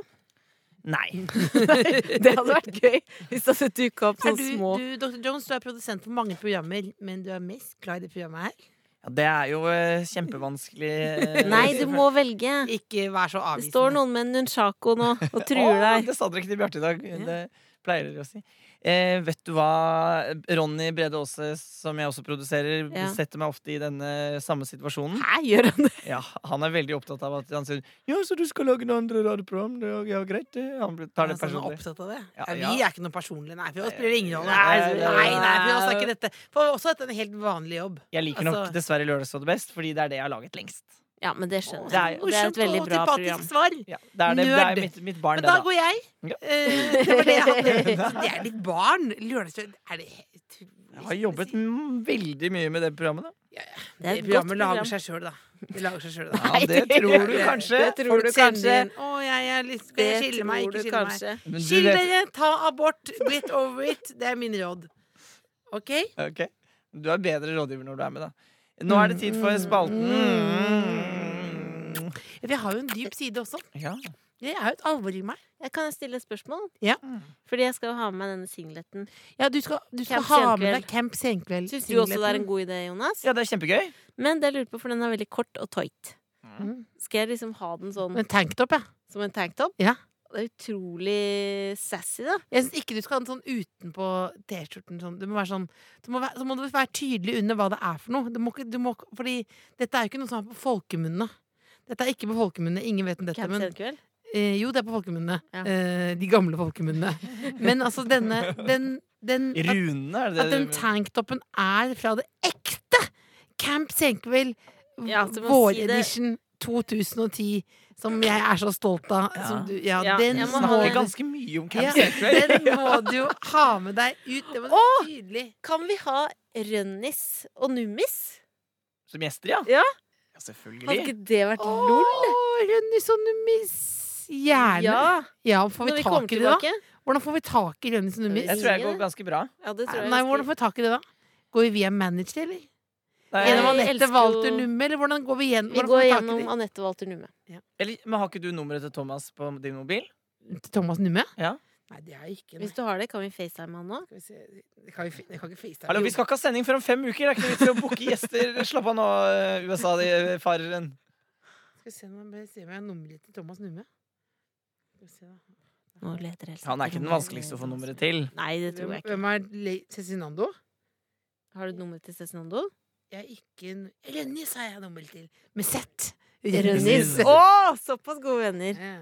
Speaker 7: Nei.
Speaker 3: Det hadde vært gøy hvis det hadde dukka opp
Speaker 4: Er
Speaker 3: sånne
Speaker 4: du,
Speaker 3: små
Speaker 4: du, Dr. Jones, du er produsent for mange programmer, men du er mest glad i det programmet her.
Speaker 7: Ja, det er jo eh, kjempevanskelig. eh,
Speaker 3: Nei, du må velge.
Speaker 4: Ikke vær så
Speaker 3: Det
Speaker 4: avvisende.
Speaker 3: står noen med en nunchako nå og truer
Speaker 7: Å,
Speaker 3: deg.
Speaker 7: Det sa dere ikke til Bjarte i dag. Det pleier dere å si. Eh, vet du hva? Ronny Brede Aase, som jeg også produserer,
Speaker 3: Ja.
Speaker 7: setter meg ofte i denne samme situasjonen.
Speaker 3: Hæ, gjør han det?
Speaker 7: Ja, Han er veldig opptatt av at han sier 'Ja, så du skal lage noen andre radioprogram?' Det er, ja, greit, det. Han blir- tar
Speaker 4: Er
Speaker 7: det
Speaker 4: det sånn
Speaker 7: personlig.
Speaker 4: opptatt av det?
Speaker 7: Ja,
Speaker 4: Ja, vi
Speaker 7: ja.
Speaker 4: er ikke noe personlige. Nei, for oss spiller det ingen rolle.
Speaker 7: Nei,
Speaker 4: Nei,
Speaker 7: det-
Speaker 4: nei, nei, for oss er ikke dette. For oss er dette en helt vanlig jobb.
Speaker 7: Jeg liker
Speaker 4: altså-
Speaker 7: nok dessverre Lørdagsrådet best, fordi det er det jeg har laget lengst.
Speaker 3: Ja, men det skjønner
Speaker 7: Det er
Speaker 3: jeg.
Speaker 7: jo-
Speaker 3: Og Det er et veldig
Speaker 4: og
Speaker 3: bra program.
Speaker 4: sympatisk svar.
Speaker 7: Ja, det er, det, det
Speaker 4: Nerd.
Speaker 7: er mitt, mitt barn,
Speaker 4: Men
Speaker 7: det,
Speaker 4: da
Speaker 7: da.
Speaker 4: går jeg.
Speaker 7: Ja.
Speaker 4: Eh, det var det jeg hadde. Så Det er ditt barn. Lørdagsrevyen er det helt
Speaker 7: Jeg har jobbet m- veldig mye med det programmet. da
Speaker 3: Det er et godt
Speaker 4: Programmet
Speaker 3: program.
Speaker 4: lager seg sjøl, da. Det lager seg selv, da.
Speaker 7: Ja, det tror du kanskje.
Speaker 3: Det tror du
Speaker 4: Folk sender
Speaker 3: kanskje.
Speaker 4: inn, Å, jeg, jeg har lyst- skal
Speaker 3: Det
Speaker 4: jeg skille meg,
Speaker 3: tror
Speaker 4: ikke
Speaker 3: du
Speaker 4: skille meg.
Speaker 3: kanskje.
Speaker 7: Men du
Speaker 4: Skill
Speaker 7: vet
Speaker 4: dere, ta abort, get over it. Det er min råd. OK?
Speaker 7: Ok. Du er bedre rådgiver når du er med, da. Nå er det tid for spalten.
Speaker 4: For jeg har jo en dyp side også.
Speaker 7: Ja.
Speaker 4: Jeg er jo et alvor i meg.
Speaker 3: Jeg kan stille et spørsmål?
Speaker 4: Ja.
Speaker 3: Fordi jeg skal jo ha med meg denne singleten.
Speaker 4: Ja, du skal, du skal
Speaker 3: Camp
Speaker 4: ha med
Speaker 3: Senkveld.
Speaker 4: deg Camp Senkveld.
Speaker 3: Syns du også det er en god idé, Jonas?
Speaker 7: ja, det er kjempegøy.
Speaker 3: Men det jeg lurer på, for den er veldig kort og tight.
Speaker 4: Mm.
Speaker 3: Skal jeg liksom ha den sånn
Speaker 4: En tanktop, ja.
Speaker 3: som en tanktop?
Speaker 4: Ja.
Speaker 3: Det er utrolig sassy, da.
Speaker 4: Jeg syns ikke du skal ha den sånn utenpå T-skjorten. Sånn. Det må være sånn det må være, Så må du være tydelig under hva det er for noe. Du må, ikke- du må, ikke- fordi dette er jo ikke noe som er på folkemunne. Dette er ikke på folkemunne. Ingen vet om dette.
Speaker 3: Camp
Speaker 4: Men,
Speaker 3: Senkveld.
Speaker 4: eh, jo, det er på folkemunne.
Speaker 3: Ja.
Speaker 4: Eh, de gamle folkemunnene. Men altså denne den, den, at-
Speaker 7: Runene, er det
Speaker 4: At
Speaker 7: det?
Speaker 4: den
Speaker 7: du-
Speaker 4: tanktoppen er fra det ekte Camp Senkveld
Speaker 3: Ja, så man sier det-
Speaker 4: våredition 2010, som jeg er så stolt av.
Speaker 7: Ja.
Speaker 4: Som du, ja,
Speaker 3: Ja,
Speaker 4: den,
Speaker 3: jeg
Speaker 7: Vi
Speaker 3: må
Speaker 4: må,
Speaker 3: ha
Speaker 7: snakker
Speaker 3: den.
Speaker 7: ganske mye om
Speaker 4: sånn ja,
Speaker 7: Camp Senkveld.
Speaker 4: den må du jo ha med deg ut. Det må
Speaker 3: Å!
Speaker 4: være tydelig.
Speaker 3: Kan vi ha Rønnis og Nummis?
Speaker 7: Som gjester, ja?
Speaker 3: Ja.
Speaker 7: Ja,
Speaker 3: Hadde
Speaker 7: selvfølgelig.
Speaker 3: ikke det vært
Speaker 4: Å,
Speaker 3: lol?
Speaker 4: Rønnis og Nummis. Gjerne.
Speaker 3: Ja,
Speaker 4: Ja, får
Speaker 3: når
Speaker 4: vi
Speaker 3: vi kommer
Speaker 4: tak i det, da?
Speaker 3: tilbake.
Speaker 4: Hvordan får vi tak i Rønnis og Nummis?
Speaker 7: Jeg tror jeg går ganske bra.
Speaker 3: Ja, det tror jeg
Speaker 4: Nei,
Speaker 3: ganske-
Speaker 4: hvordan får vi tak i det, da? Går vi via manager, eller?
Speaker 7: Nei,
Speaker 3: Jeg
Speaker 4: Gjennom
Speaker 3: elsker
Speaker 4: Anette
Speaker 3: jo-
Speaker 4: Walter Numme, eller hvordan går vi igjen?
Speaker 3: Vi
Speaker 4: hvordan får
Speaker 3: går
Speaker 4: vi tak i
Speaker 3: gjennom Anette Walter Numme.
Speaker 7: eller, men har ikke du nummeret til Thomas på din mobil?
Speaker 4: de? Til Thomas Numme?
Speaker 7: Ja.
Speaker 4: Nei, det er ikke
Speaker 3: Hvis du har det, kan vi facetime han nå?
Speaker 4: Skal vi se Jeg kan, ikke- jeg kan ikke facetime.
Speaker 7: Hallo,
Speaker 4: Jo.
Speaker 7: Vi skal ikke ha sending før om fem uker! Det er ikke noe vits i å booke gjester. Slapp av nå, eh, USA-fareren.
Speaker 4: Skal vi se om jeg bare ser om jeg har nummeret til Thomas Numme. Skal vi se da.
Speaker 3: Nå leter Else
Speaker 7: Han er
Speaker 3: etter
Speaker 7: ikke den
Speaker 3: nummeret.
Speaker 7: vanskeligste å få nummeret til.
Speaker 3: Nei, det tror jeg ikke.
Speaker 4: Hvem er Le- Cezinando?
Speaker 3: Har du nummeret til Cezinando?
Speaker 4: Jeg er ikke en- Rønnis har jeg nummeret til. Med Z.
Speaker 3: Rønnis.
Speaker 7: Rønnis.
Speaker 3: Å, såpass gode venner!
Speaker 4: Ja.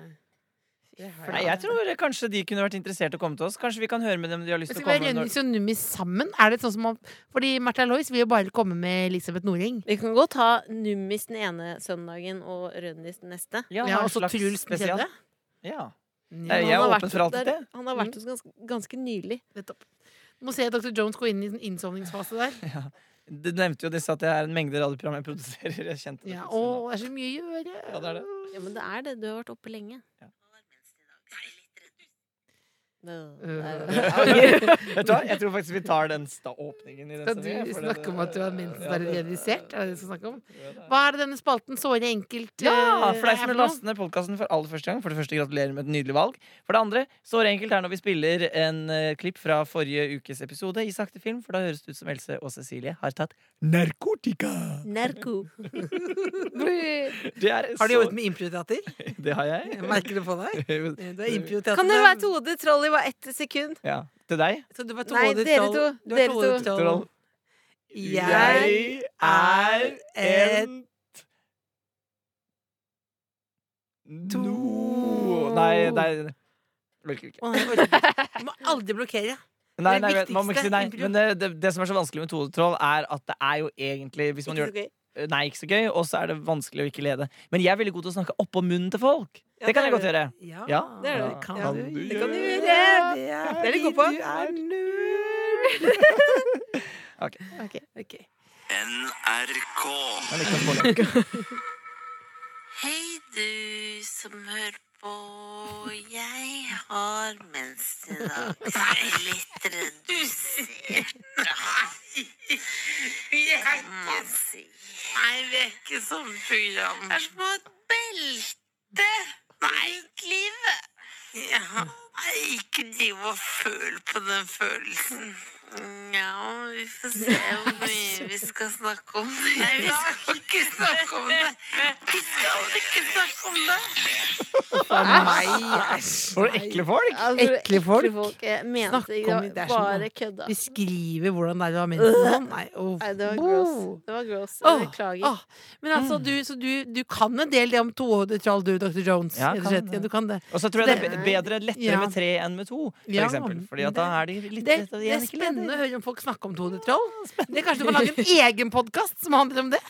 Speaker 4: Det har
Speaker 7: Nei, jeg tror kanskje de kunne vært interessert i å komme til oss. Kanskje vi kan høre med dem de har lyst
Speaker 4: Men
Speaker 7: til å
Speaker 4: Skal vi
Speaker 7: komme
Speaker 4: ha
Speaker 7: når...
Speaker 4: Rønnis og Nummi sammen? Er det sånn som man, Fordi Martha Lois vil jo bare komme med Elisabeth Noreng.
Speaker 3: Vi kan godt ha Nummis den ene søndagen og Rønnis den neste.
Speaker 7: Ja,
Speaker 4: Ja,
Speaker 7: en
Speaker 4: og så
Speaker 7: slags
Speaker 4: Truls den
Speaker 7: spesial.
Speaker 4: tredje.
Speaker 7: Ja.
Speaker 4: Ja,
Speaker 7: Jeg er
Speaker 3: Han har
Speaker 7: åpen
Speaker 3: vært
Speaker 7: for alt
Speaker 3: der-
Speaker 7: dette.
Speaker 3: Han har
Speaker 4: Mm.
Speaker 3: vært hos ganske, ganske nylig.
Speaker 4: nettopp. Må se Dr. Jones gå inn i en innsovningsfase der.
Speaker 7: Du nevnte jo disse at det er en mengde radioprogram jeg produserer. Jeg kjente det.
Speaker 4: Ja,
Speaker 7: på
Speaker 4: å, det er så mye å gjøre.
Speaker 7: stund. ja, det er det.
Speaker 3: Ja, men det er det. Du har vært oppe lenge. Nå,
Speaker 4: Øh.
Speaker 3: der-
Speaker 7: Vet du hva, jeg tror faktisk vi tar den sta åpningen i den eh,
Speaker 4: Skal
Speaker 7: sendingen,
Speaker 4: du
Speaker 7: for
Speaker 4: snakke om at du har mensrealisert? Er det det du skal snakke om?
Speaker 7: Ja, det-
Speaker 4: Hva er det denne spalten såre enkelt
Speaker 7: Ja!
Speaker 4: eh,
Speaker 7: For deg som
Speaker 4: er
Speaker 7: vil
Speaker 4: noe?
Speaker 7: laste ned podkasten for aller første gang. For det første, gratulerer med et nydelig valg. For det andre, såre enkelt er når vi spiller en eh, klipp fra forrige ukes episode i sakte film, for da høres det ut som Else og Cecilie har tatt narkotika!
Speaker 3: Narko.
Speaker 7: Det er
Speaker 4: Har du
Speaker 7: så-
Speaker 4: jobbet med improteater?
Speaker 7: Det har jeg.
Speaker 4: Jeg merker det på deg. Du er improteater.
Speaker 3: Kan det være et hode? Trollet var ett sekund.
Speaker 7: Ja. Til deg.
Speaker 4: Så du var to
Speaker 3: Nei,
Speaker 4: hodet
Speaker 3: dere
Speaker 4: troll.
Speaker 3: to.
Speaker 4: Du var
Speaker 3: Dere
Speaker 4: to hodet
Speaker 3: to.
Speaker 4: troll.
Speaker 7: Troll.
Speaker 4: Jeg er en
Speaker 7: To Nei, nei. nei. Orker ikke.
Speaker 4: Å, nei, jeg orker ikke. Du må aldri blokkere.
Speaker 7: Nei,
Speaker 4: Det
Speaker 7: nei, men- man må
Speaker 4: viktigste
Speaker 7: ikke si nei.
Speaker 4: improv.
Speaker 7: Men det, det, det som er så vanskelig med todetroll, er at det er jo egentlig hvis man
Speaker 3: Ikke
Speaker 7: gjør,
Speaker 3: så gøy.
Speaker 7: Nei, ikke så gøy, og så er det vanskelig å ikke lede. Men jeg er veldig god til å snakke oppå munnen til folk.
Speaker 3: Ja,
Speaker 7: det kan
Speaker 3: det
Speaker 7: jeg godt gjøre.
Speaker 4: Ja.
Speaker 7: Ja.
Speaker 3: Det er det.
Speaker 4: kan
Speaker 3: Ja,
Speaker 4: du
Speaker 3: det
Speaker 4: gjøre.
Speaker 3: kan du gjøre.
Speaker 4: Det
Speaker 3: er det god på.
Speaker 4: Du er
Speaker 7: Ok.
Speaker 4: Ok. ok.
Speaker 2: NRK.
Speaker 7: Men ikke noe problem.
Speaker 5: Hei, du som hører på. Jeg har mens i dag. Jeg er litt redusert. Jeg må si. Nei, vi er ikke sånn program. Det er som å ha et belte rundt livet. Ja. Nei, ikke driv og føl på den følelsen. Ja, vi får se hvor mye vi skal snakke om det. Nei, vi skal ikke snakke om det. Vi skal ikke snakke om det.
Speaker 4: Nei, æsj.
Speaker 7: For ekle folk!
Speaker 3: Altså,
Speaker 4: Ekle folk.
Speaker 3: Jeg mente
Speaker 4: Snakk
Speaker 3: ikke
Speaker 4: om
Speaker 3: det.
Speaker 4: det.
Speaker 3: var
Speaker 4: Det er som
Speaker 3: Bare kødda.
Speaker 4: Beskrive hvordan det er å ha mensen. Nei, uff.
Speaker 3: Nei, det var
Speaker 4: Bo.
Speaker 3: gross. Det var gross.
Speaker 4: Åh,
Speaker 3: Beklager. Mm.
Speaker 4: åh. Men altså, du, så du, du kan en del det om tohodet troll, du, Dr. Jones.
Speaker 7: Ja,
Speaker 4: rett og
Speaker 7: kan
Speaker 4: slett.
Speaker 7: det.
Speaker 4: Ja, du kan det.
Speaker 7: Og så tror jeg det er be- bedre lettere
Speaker 4: Ja.
Speaker 7: med tre enn med to. For
Speaker 4: Ja,
Speaker 7: eksempel. Fordi at da er de litt
Speaker 4: Det,
Speaker 7: lette.
Speaker 4: det er spennende å høre om folk snakker om tohodet troll. Det er kanskje du kan lage en egen podkast som handler om det?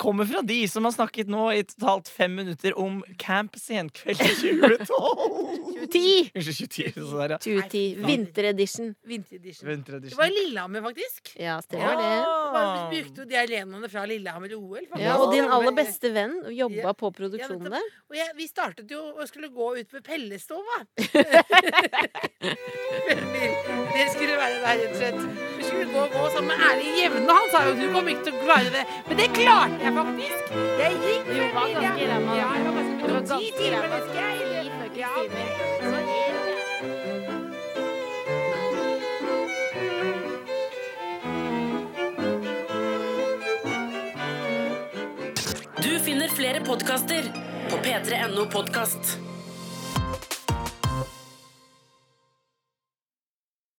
Speaker 7: kommer fra de som har snakket nå i totalt fem minutter om Camp senkveld 2012.
Speaker 3: 2010!
Speaker 7: Unnskyld, 2010. sånn der, ja.
Speaker 3: 2010. Vinteredition.
Speaker 4: Vinteredition. Det var
Speaker 7: Vinteredition.
Speaker 4: i Lillehammer, faktisk.
Speaker 3: Ja, stemmer det.
Speaker 4: Det var- Vi brukte jo de arenaene fra Lillehammer OL. faktisk.
Speaker 3: Ja, og din aller beste venn jobba
Speaker 4: Ja.
Speaker 3: på produksjonen der.
Speaker 4: Og jeg, vi startet jo og skulle gå ut med pellestova. det skulle være der, rett og slett. Vi skulle gå og gå sammen med Erling Jevne. Han sa jo du kommer ikke til å klare det. Men det klarte jeg faktisk. Jeg gikk.
Speaker 3: Du var ganske ræva.
Speaker 4: Ja, jeg var ganske,
Speaker 3: Du
Speaker 4: det
Speaker 3: var
Speaker 4: var ti
Speaker 3: ganske
Speaker 4: timer,
Speaker 3: ræva.
Speaker 4: det skal jeg.
Speaker 3: Ti fuckings
Speaker 4: Ja,
Speaker 3: timer.
Speaker 8: Du finner flere podkaster på p3.no podkast.